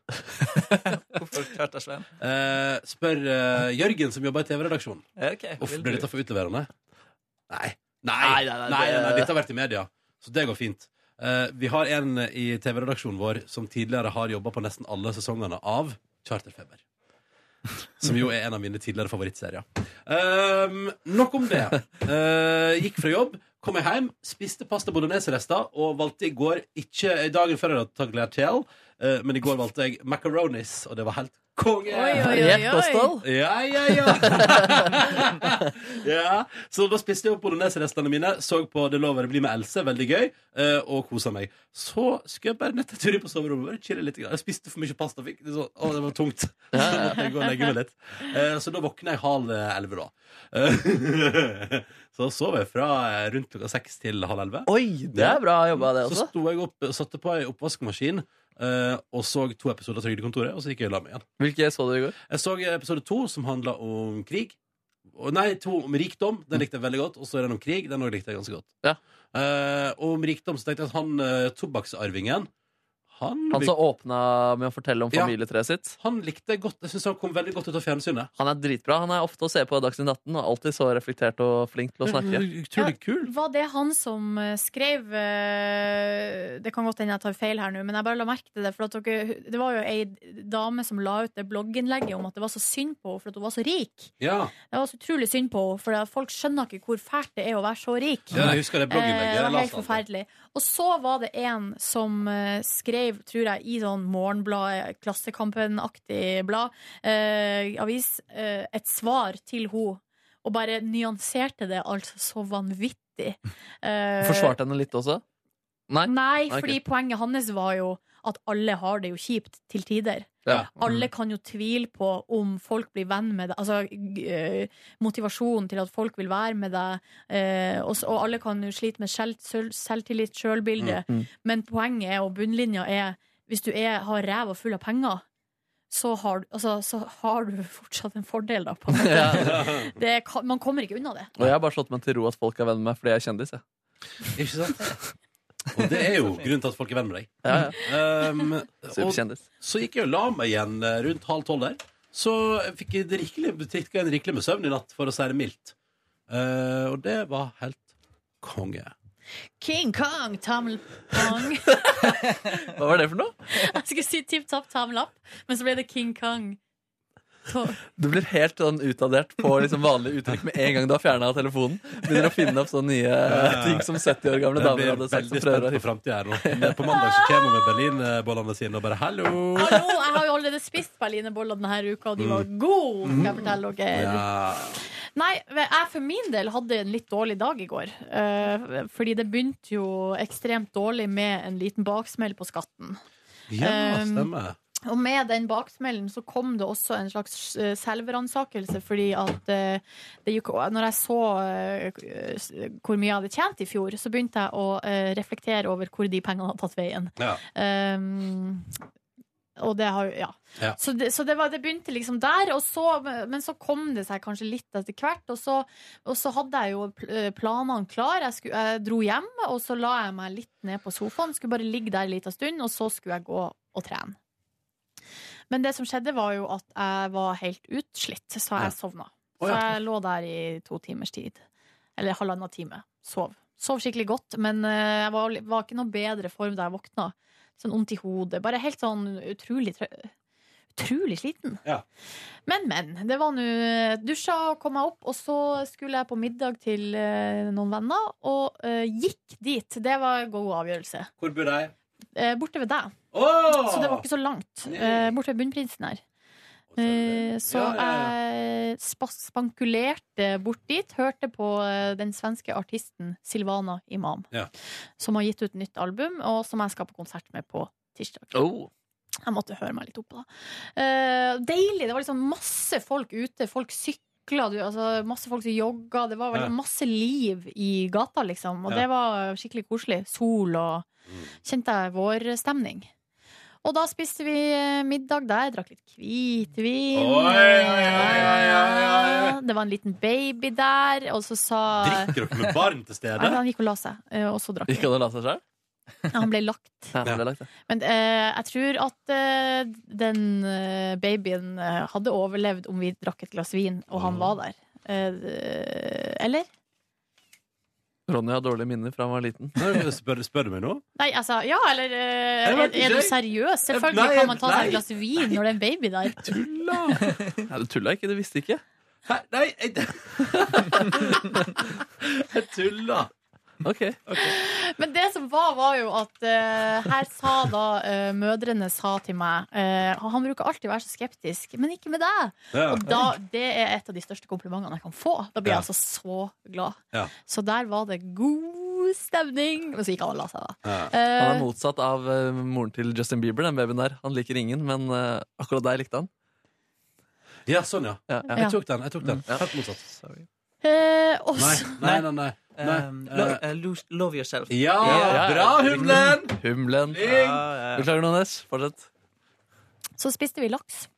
Hvorfor klarte Svein?
Eh, spør eh, Jørgen, som jobber i TV-redaksjonen.
Ja, ok,
Uff,
vil
blir
du-
dette for utleverende? Nei. Nei,
Nei, nei, nei, det-
dette har vært i media, så det går fint. Eh, vi har en i TV-redaksjonen vår som tidligere har jobba på nesten alle sesongene av Charterfeber. Som jo er en av mine tidligere favorittserier. Um, nok om det. Eh, gikk fra jobb, kom jeg hjem, spiste pasta bolognese-rester og valgte i går ikke dagen før jeg hadde tatt Glacial, eh, men i går valgte jeg macaronis, og det var helt konge!
Oi, oi, oi,
Rett
oi.
kosthold.
Ja, ja, ja. ja. Så da spiste jeg opp bolognese-restene mine, så på Det lover å bli med Else, veldig gøy, eh, og kosa meg. Så skulle jeg bare nett en tur inn på soverommet. Bare chille litt. grann. Jeg spiste for mye pasta. Fikk, det, så, å, det var tungt. Så jeg går og legger meg litt. Eh, så da våkna jeg halv eh, elleve, da. Eh, så sov jeg fra eh, rundt klokka seks til halv elleve.
Oi, det er bra jobba, det
Så
også.
sto jeg opp, satte på ei oppvaskmaskin eh, og så to episoder av Trygdekontoret, og så gikk jeg og la meg igjen.
Hvilke så du i går?
Jeg så episode to, som handla om krig. Og- Nei, to om rikdom. Den likte jeg veldig godt. Og så er den om krig. Den også likte jeg ganske godt.
Ja.
Eh, og om rikdom så tenkte jeg at han eh, tobakksarvingen han,
Han
lik-
som åpna med å fortelle om
Ja.
familietreet sitt.
han likte jeg godt. Jeg syns han kom veldig godt ut av fjernsynet.
Han er dritbra. Han er ofte å se på Dagsnytt 18 og alltid så reflektert og flink til å snakke.
Mm, Utrolig kul.
Var det han som eh, skrev eh, Det kan godt hende jeg tar feil her nå, men jeg bare la merke til det. For at dere, det var jo ei dame som la ut det blogginnlegget om at det var så synd på henne for at hun var så rik.
Ja,
Det var så utrolig synd på henne, for at folk skjønner ikke hvor fælt det er å være så rik.
ja jeg husker det
Eh,
blogginnlegget.
Det
Jeg
var
la
helt
oss an.
forferdelig. Og så var det en som eh, skrev, tror jeg, i sånn Morgenbladet, Klassekampen-aktig blad, eh, avis, eh, et svar til henne. Og bare nyanserte det altså så vanvittig. Eh,
Forsvarte henne litt også. Nei?
Nei,
Ok.
fordi poenget hans var jo at alle har det jo kjipt til tider.
Ja.
Mhm.
Alle kan jo tvile på om folk blir venn med deg. Altså g- eh, motivasjonen til at folk vil være med deg. eh, og, s- og alle kan jo slite med selv, selv, selvtillit, sjølbilde.
Mm.
Men poenget er, og bunnlinja er, hvis du er, har ræva full av penger, så har, du- altså, så har du fortsatt en fordel, da. På en måte. det, kan- man kommer ikke unna det.
Og jeg har bare slått meg til ro at folk er venn med meg fordi jeg er kjendis. Jeg.
Ikke sant? Og det er jo grunnen til at folk er venn med deg.
Ja, ja.
Um,
Mm.
og
Superkjendis.
så gikk jeg og la meg igjen eh, rundt halv tolv der. Så jeg fikk jeg rikelig, trikka en rikelig med søvn i natt, for å si det mildt. Eh, og det var helt konge.
King Kong, Tamil Kong.
Hva var det for noe?
Jeg skulle si tipp topp tommel opp, men så ble det King Kong. To
Du blir helt sånn utadert på liksom vanlige uttrykk med en gang du har fjerna telefonen. Begynner å finne opp sånne nye eh, ting som 70 år gamle
Jeg
damer
blir
hadde sagt.
veldig
Som
spent
prøver å
på framtida her nå. Men På mandag så kommer hun med berlinbollene sine og bare 'hallo'.
Hallo, jeg har jo allerede spist berlinerboller denne uka, og de var gode, skal jeg fortelle dere.
Ja.
Nei, jeg for min del hadde en litt dårlig dag i går. eh, Fordi det begynte jo ekstremt dårlig med en liten baksmell på skatten.
ja,
Um,
stemmer.
Og med den baksmellen så kom det også en slags eh, selvransakelse, fordi at eh, det gikk, når jeg så eh, s- hvor mye jeg hadde tjent i fjor, så begynte jeg å eh, reflektere over hvor de pengene hadde tatt veien.
Ja.
Um, og det har jo Ja.
Ja.
Så, det, så det, var, det begynte liksom der, og så, men så kom det seg kanskje litt etter hvert. Og så, og så hadde jeg jo pl- eh, planene klar. Jeg, skulle, jeg dro hjem, og så la jeg meg litt ned på sofaen. Skulle bare ligge der en liten stund, og så skulle jeg gå og trene. Men det som skjedde, var jo at jeg var helt utslitt, så jeg sovna. Så
Å, ja.
jeg lå der i to timers tid. Eller halvannen time. Sov. Sov skikkelig godt, men eh, jeg var, var ikke noe bedre form da jeg våkna. Sånn vondt i hodet. Bare helt sånn utrolig trø- Utrolig sliten.
Ja.
Men, men. Det var nå eh, Dusja og kom meg opp, og så skulle jeg på middag til eh, noen venner, og eh, gikk dit. Det var en god avgjørelse.
Hvor bor de?
Eh, borte ved deg.
Åh!
Så det var ikke så langt. Eh, borte ved Bunnprinsen her. Eh, Så
Ja, ja,
jeg spa- spankulerte bort dit, hørte på eh, den svenske artisten Silvana Imam,
Ja.
som har gitt ut nytt album, og som jeg skal på konsert med på tirsdag.
Oh.
Jeg måtte høre meg litt opp på det. Eh, Deilig! Det var liksom masse folk ute. Folk sykla, du, altså masse folk som jogga. Det var veldig
Ja.
masse liv i gata, liksom. Og
Ja. Mm.
det var skikkelig koselig. Sol og Kjente jeg vårstemning. Og da spiste vi eh, middag der. Drakk litt hvitvin. Eh,
Oi, oi, oi, oi, oi,
Det var en liten baby der, og så sa
Drikker dere med barn til
Nei,
stede?
Han gikk og la seg, eh, og så drakk
Gikk
han.
han og la seg sjøl?
Han ble lagt.
Ja, det er lagt, det.
Men eh, jeg tror at eh, den eh, babyen eh, hadde overlevd om vi drakk et glass vin, og
Mm.
han var der. Eh, eller?
Ronny har dårlige minner fra han var liten.
Nei, Spør, spør du meg nå?
Nei, jeg sa ja, eller eh,
Jeg vet
er, er du
ikke.
seriøs? Selvfølgelig
Nei,
kan man ta seg
nei.
et glass vin når det er en baby der.
Tulla!
Nei, du tulla ikke, du visste ikke.
Hæ? Nei, jeg Jeg tulla.
Ok,
Men det som var, var jo at eh, her sa da eh, mødrene sa til meg eh, Han bruker alltid være så skeptisk, men ikke med deg.
Ja.
Og da, det er et av de største komplimentene jeg kan få. Da blir
Ja.
jeg altså så glad.
Ja.
Så der var det god stemning. Men så gikk han og la seg, da.
Ja.
Han
Eh,
er motsatt av eh, moren til Justin Bieber, den babyen der. Han liker ingen, men eh, akkurat deg likte han.
ja, sånn, ja. Mm.
Ja, ja.
Jeg tok den. jeg tok den
Ja.
Helt motsatt.
eh, og
Nei,
så-
nei, nei. nei. nei.
Um, lo- eh, lose- love yourself.
Ja,
Ja.
bra, humlen!
Humlen.
Ding!
Ja, ja, ja.
Beklager, Nordnes. Fortsett.
så spiste vi laks,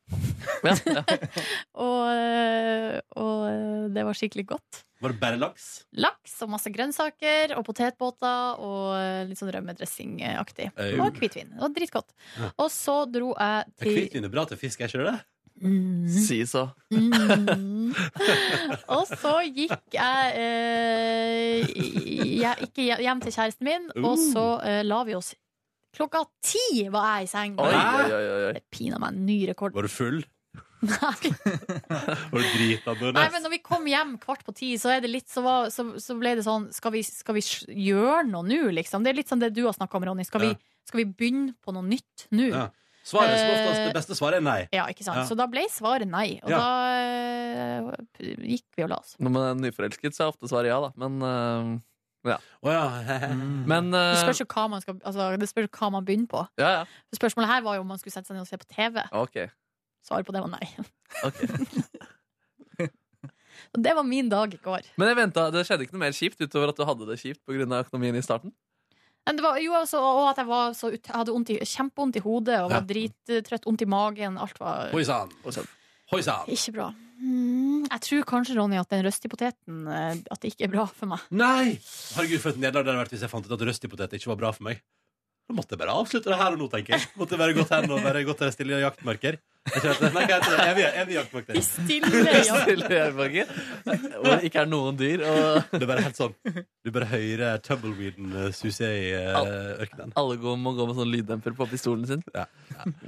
Ja, ja.
og, eh, og eh, det var skikkelig godt.
Var det bare laks?
Laks og masse grønnsaker og potetbåter og eh, litt sånn rømmedressingaktig.
Au.
Og hvitvin. Det var dritgodt.
Ja.
Og så dro jeg til
Hvitvin er bra til fisk, er ikke det det?
Mm,
Si så.
mm. Og så gikk jeg, eh, jeg Ikke hje- hjem til kjæresten min, og
Uh.
så eh, la vi oss. Klokka ti var jeg i seng.
Oi, oi, oi. oi.
Det pina meg en ny rekord.
Var du full?
Nei.
Var du drita?
Nei,
Nordnes?
men når vi kom hjem kvart på ti, så, er det litt, så, var, så, så ble det sånn Skal vi, skal vi sj- gjøre noe nå, liksom? Det er litt sånn det du har snakka om, Ronny. Skal vi,
Ja.
skal vi begynne på noe nytt nå?
Ja. Svaret som oftest,
Eh,
Det beste svaret er nei.
Ja, ikke sant?
Ja.
Så da ble svaret nei. Og
Ja.
da eh, gikk vi og la oss.
Når man er nyforelsket, så er ofte svaret ja, da. Men eh, Ja.
Å ja.
Men eh,
Det spørs jo hva man, skal, altså, det spørs jo hva man begynner på.
Ja, ja.
Spørsmålet her var jo om man skulle sette seg ned og se på TV.
Ok.
Svaret på det var nei.
ok.
Og det var min dag i går.
Men jeg ventet, det skjedde ikke noe mer kjipt utover at du hadde det kjipt pga. økonomien i starten?
Men det var, jo, altså, og at jeg var så ut, hadde vondt i- kjempevondt i hodet og var
Ja.
drittrøtt, vondt i magen. Alt var
Hoi sann. Hoi sann.
ikke bra. Mm, jeg tror kanskje, Ronny, at den røstige poteten eh, At det ikke er bra for meg.
Nei! Herregud, for et nederlag det hadde vært hvis jeg fant ut at røstig potet ikke var bra for meg. Da måtte jeg bare avslutte det her og nå, tenker jeg. Måtte bare gått hen og bare gått til stille jaktmarker. Jeg tror at det- Nei, hva heter det? Evig, evig jaktmarker.
I stille, ja.
Til Jernbanger, Hvor det ikke er noen dyr, og
Det er bare helt sånn. Du bare hører tumbleweeden eh, suse i eh, ørkenen.
alle går, må gå med sånn lyddemper på pistolen sin.
Ja.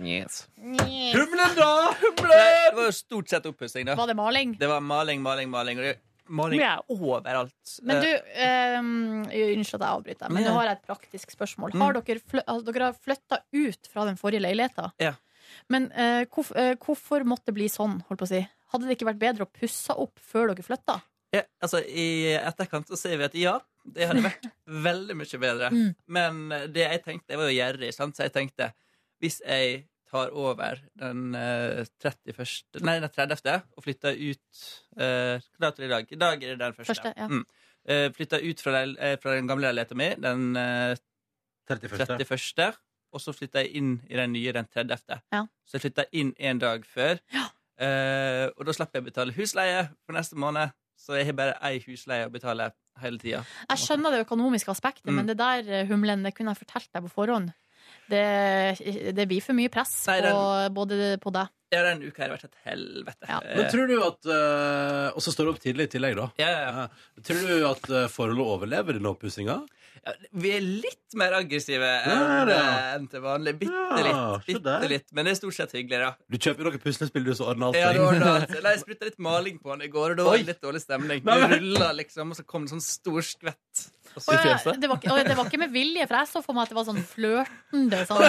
Yes.
Humlen, da!
Det var jo stort sett oppussing, da.
Var det maling?
Det var maling, maling, maling. Og det, maling
Ja.
overalt.
Men
Eh,
du, ehm, unnskyld at jeg avbryter, men nå har jeg et praktisk spørsmål.
Mm.
Har dere, flø altså, dere har flytta ut fra den forrige leiligheta.
Ja.
Men eh, hvorf eh, hvorfor måtte det bli sånn? Holdt på å si? Hadde det ikke vært bedre å pusse opp før dere flytta?
ja, altså, I etterkant så ser vi at ja, det hadde vært veldig mye bedre.
Mm.
Men eh, det jeg tenkte, jeg var jo gjerrig, sant? så jeg tenkte hvis jeg tar over den eh, 31. Nei, den 30. og flytter ut eh, Hva dato er det i dag? I dag er det den første.
Første, ja.
mm. Eh, flytter ut fra, leil- eh, fra den gamle leiligheten min den eh,
31.
31. Og så flytta jeg inn i den nye den 30.
Ja.
Så jeg flytta inn en dag før. Eh, og da slapp jeg å betale husleie for neste måned. Så jeg har bare ei husleie å betale hele tida.
Jeg skjønner det økonomiske aspektet,
Mm.
men det der eh, humlen, det kunne jeg fortalt deg på forhånd. Det, det blir for mye press
Nei,
på,
den-
både på deg.
Ja, den uka har vært et helvete.
Ja.
Eh,
Men tror du at eh, Og så står det opp tidlig i tillegg, da.
ja, ja, ja.
Ja. Tror du at eh, forholdet overlever denne oppussinga?
Ja, vi er litt mer aggressive
Ja,
enn
ja.
enn til vanlig.
Ja,
Bitte
se
litt.
der.
Bitte litt. Men det er stort sett hyggelig, da.
Du kjøper noen puslespill, du, så ordner alt
Ja, det
seg.
var da- Nei, jeg sprutta litt maling på den i går, og da var det litt dårlig stemning.
Nei,
Det
men-
rulla liksom, og så kom det sånn stor skvett. Og
Å
så,
ja, det, var, ikke- å, det var ikke med vilje, for jeg så for meg at det var sånn flørtende. Sånn.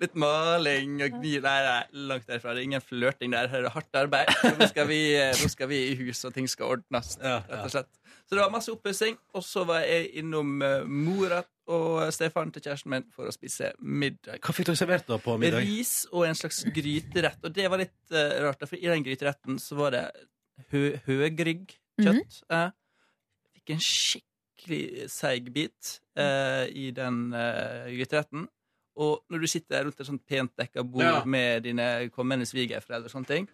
Litt maling og gni Nei, nei, langt derfra. Det er ingen flørting der. Her er det hardt arbeid. Nå skal, vi, nå skal vi i hus, og ting skal ordnes.
Ja, ja.
Rett og slett. Så det var masse oppussing. Og så var jeg innom eh, mora og Stefan til kjæresten min for å spise middag.
Hva fikk dere servert da på middag?
Ris og en slags gryterett. Og det var litt eh, rart, da, for i den gryteretten så var det hø høgrygg kjøtt. Eh, fikk en skikkelig seig bit eh, i den eh, gryteretten. Og når du sitter rundt et sånt pent dekka bord
Ja.
med dine kommende svigerforeldre og sånne ting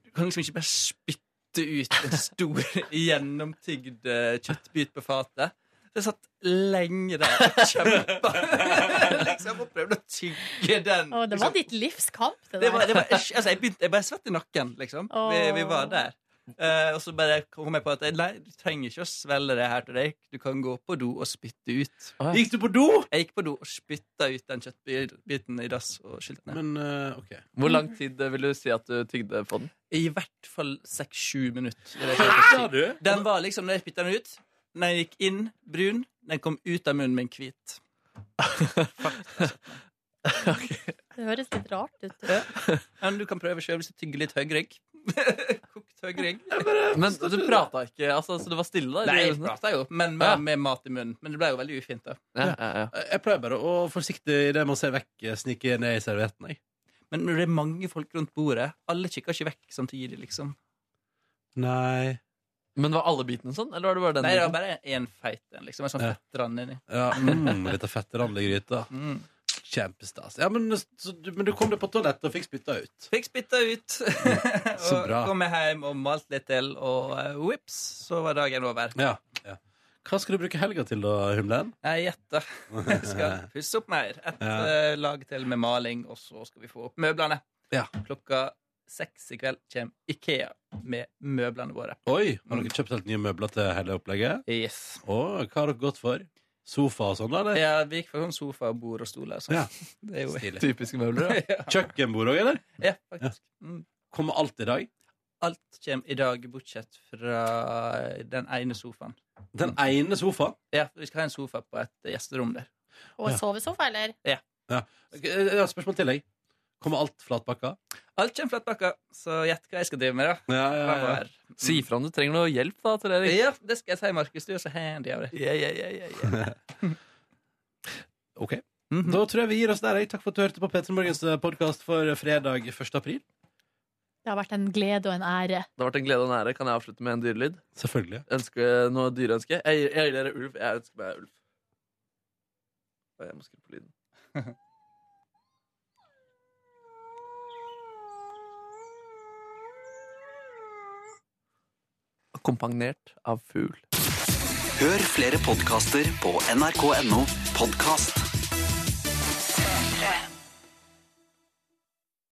Du kan liksom ikke bare spytte ut en stor, gjennomtygd eh, kjøttbit på fatet. Så jeg satt lenge der og kjempa. liksom, og prøvde å tygge den.
Å, det
liksom.
var ditt livs kamp, det
Det var,
der.
det var, altså, jeg, begynte, jeg bare svett i nakken, liksom. Vi, vi var der. Eh, og så bare kom jeg på at nei, du trenger ikke å svelge det her til deg. Du kan gå på do og spytte ut.
Gikk du på do?
Jeg gikk på do og spytta ut den kjøttbiten i dass og skylte ned.
Men eh, OK.
Hvor lang tid eh, vil du si at du tygde på den?
I hvert fall seks-sju minutter.
Ja, du.
Den var liksom, når jeg spytta den ut Når jeg gikk inn, brun. Den kom ut av munnen min, hvit.
Det høres litt rart ut.
Men du kan prøve sjøl hvis du tygger litt høyrygg. Kokt høyrygg.
Men du prata ikke, altså, så du var stille da?
Nei,
i
jeg
rusen?
prata jo, sånn. men
Ja.
med, med mat i munnen. Men det ble jo veldig ufint, da.
ja, ja, ja.
Eh, Jeg pleier bare å forsiktig i det man ser vekk, eh, snike ned i servietten. Jeg.
Men når det er mange folk rundt bordet, alle kikker ikke vekk samtidig, liksom.
Nei
Men var alle bitene sånn, eller var det bare den?
Nei, det var
biten?
bare én feit en, liksom. En sånn
Ja.
fett rand inni.
ja, mm, Litt av fetterandel i gryta.
Mm.
Kjempestas. Ja, men, så, du- men du kom deg på toalettet og fikk spytta ut.
Fikk spytta ut.
Så
og
bra.
kom jeg hjem og malte litt til, og eh, whips, så var dagen over.
Ja, ja. Hva skal du bruke helga til, da, Humlen?
Jeg gjetter. Jeg skal pusse opp mer. Et
Ja.
eh, lag til med maling, og så skal vi få opp møblene.
Ja.
Klokka seks i kveld kommer Ikea med møblene våre.
Oi, har dere kjøpt helt nye møbler til hele opplegget?
Yes.
Og hva har dere gått for? Sofa og sånn, da? eller?
Ja, vi gikk for sånn sofa, bord og stoler. Så.
Ja.
Det er jo
Typiske møbler. da.
ja,
Kjøkkenbord òg, eller?
faktisk. Mm.
Kommer alt i dag?
Alt kommer i dag, bortsett fra den ene sofaen.
Den ene sofaen.
Ja, Vi skal ha en sofa på et gjesterom der.
Og
Ja.
sovesofa, eller?
Ok, Jeg har et eh, spørsmål til deg. Kommer alt flatpakka?
Alt kommer flatpakka, så gjett hva jeg skal drive med, da.
Ja,
Fremover.
Si fra om du trenger noe hjelp, da, til Erik.
Ja, det skal jeg si, Markus. Du er så handy av det.
Ok.
Mhm.
Da tror jeg vi gir oss der. jeg. Takk for at du hørte på Petter Morgens podkast for fredag 1. april.
Det har vært en glede og en ære.
Det har vært en glede og en ære. Kan jeg avslutte med en dyrelyd?
Selvfølgelig.
Ønske noe dyreønske? Jeg gir- jeg gir dere ulv. Jeg ønsker meg ulv. Og Jeg må skru på lyden. Akkompagnert av fugl.
Hør flere podkaster på nrk.no podkast.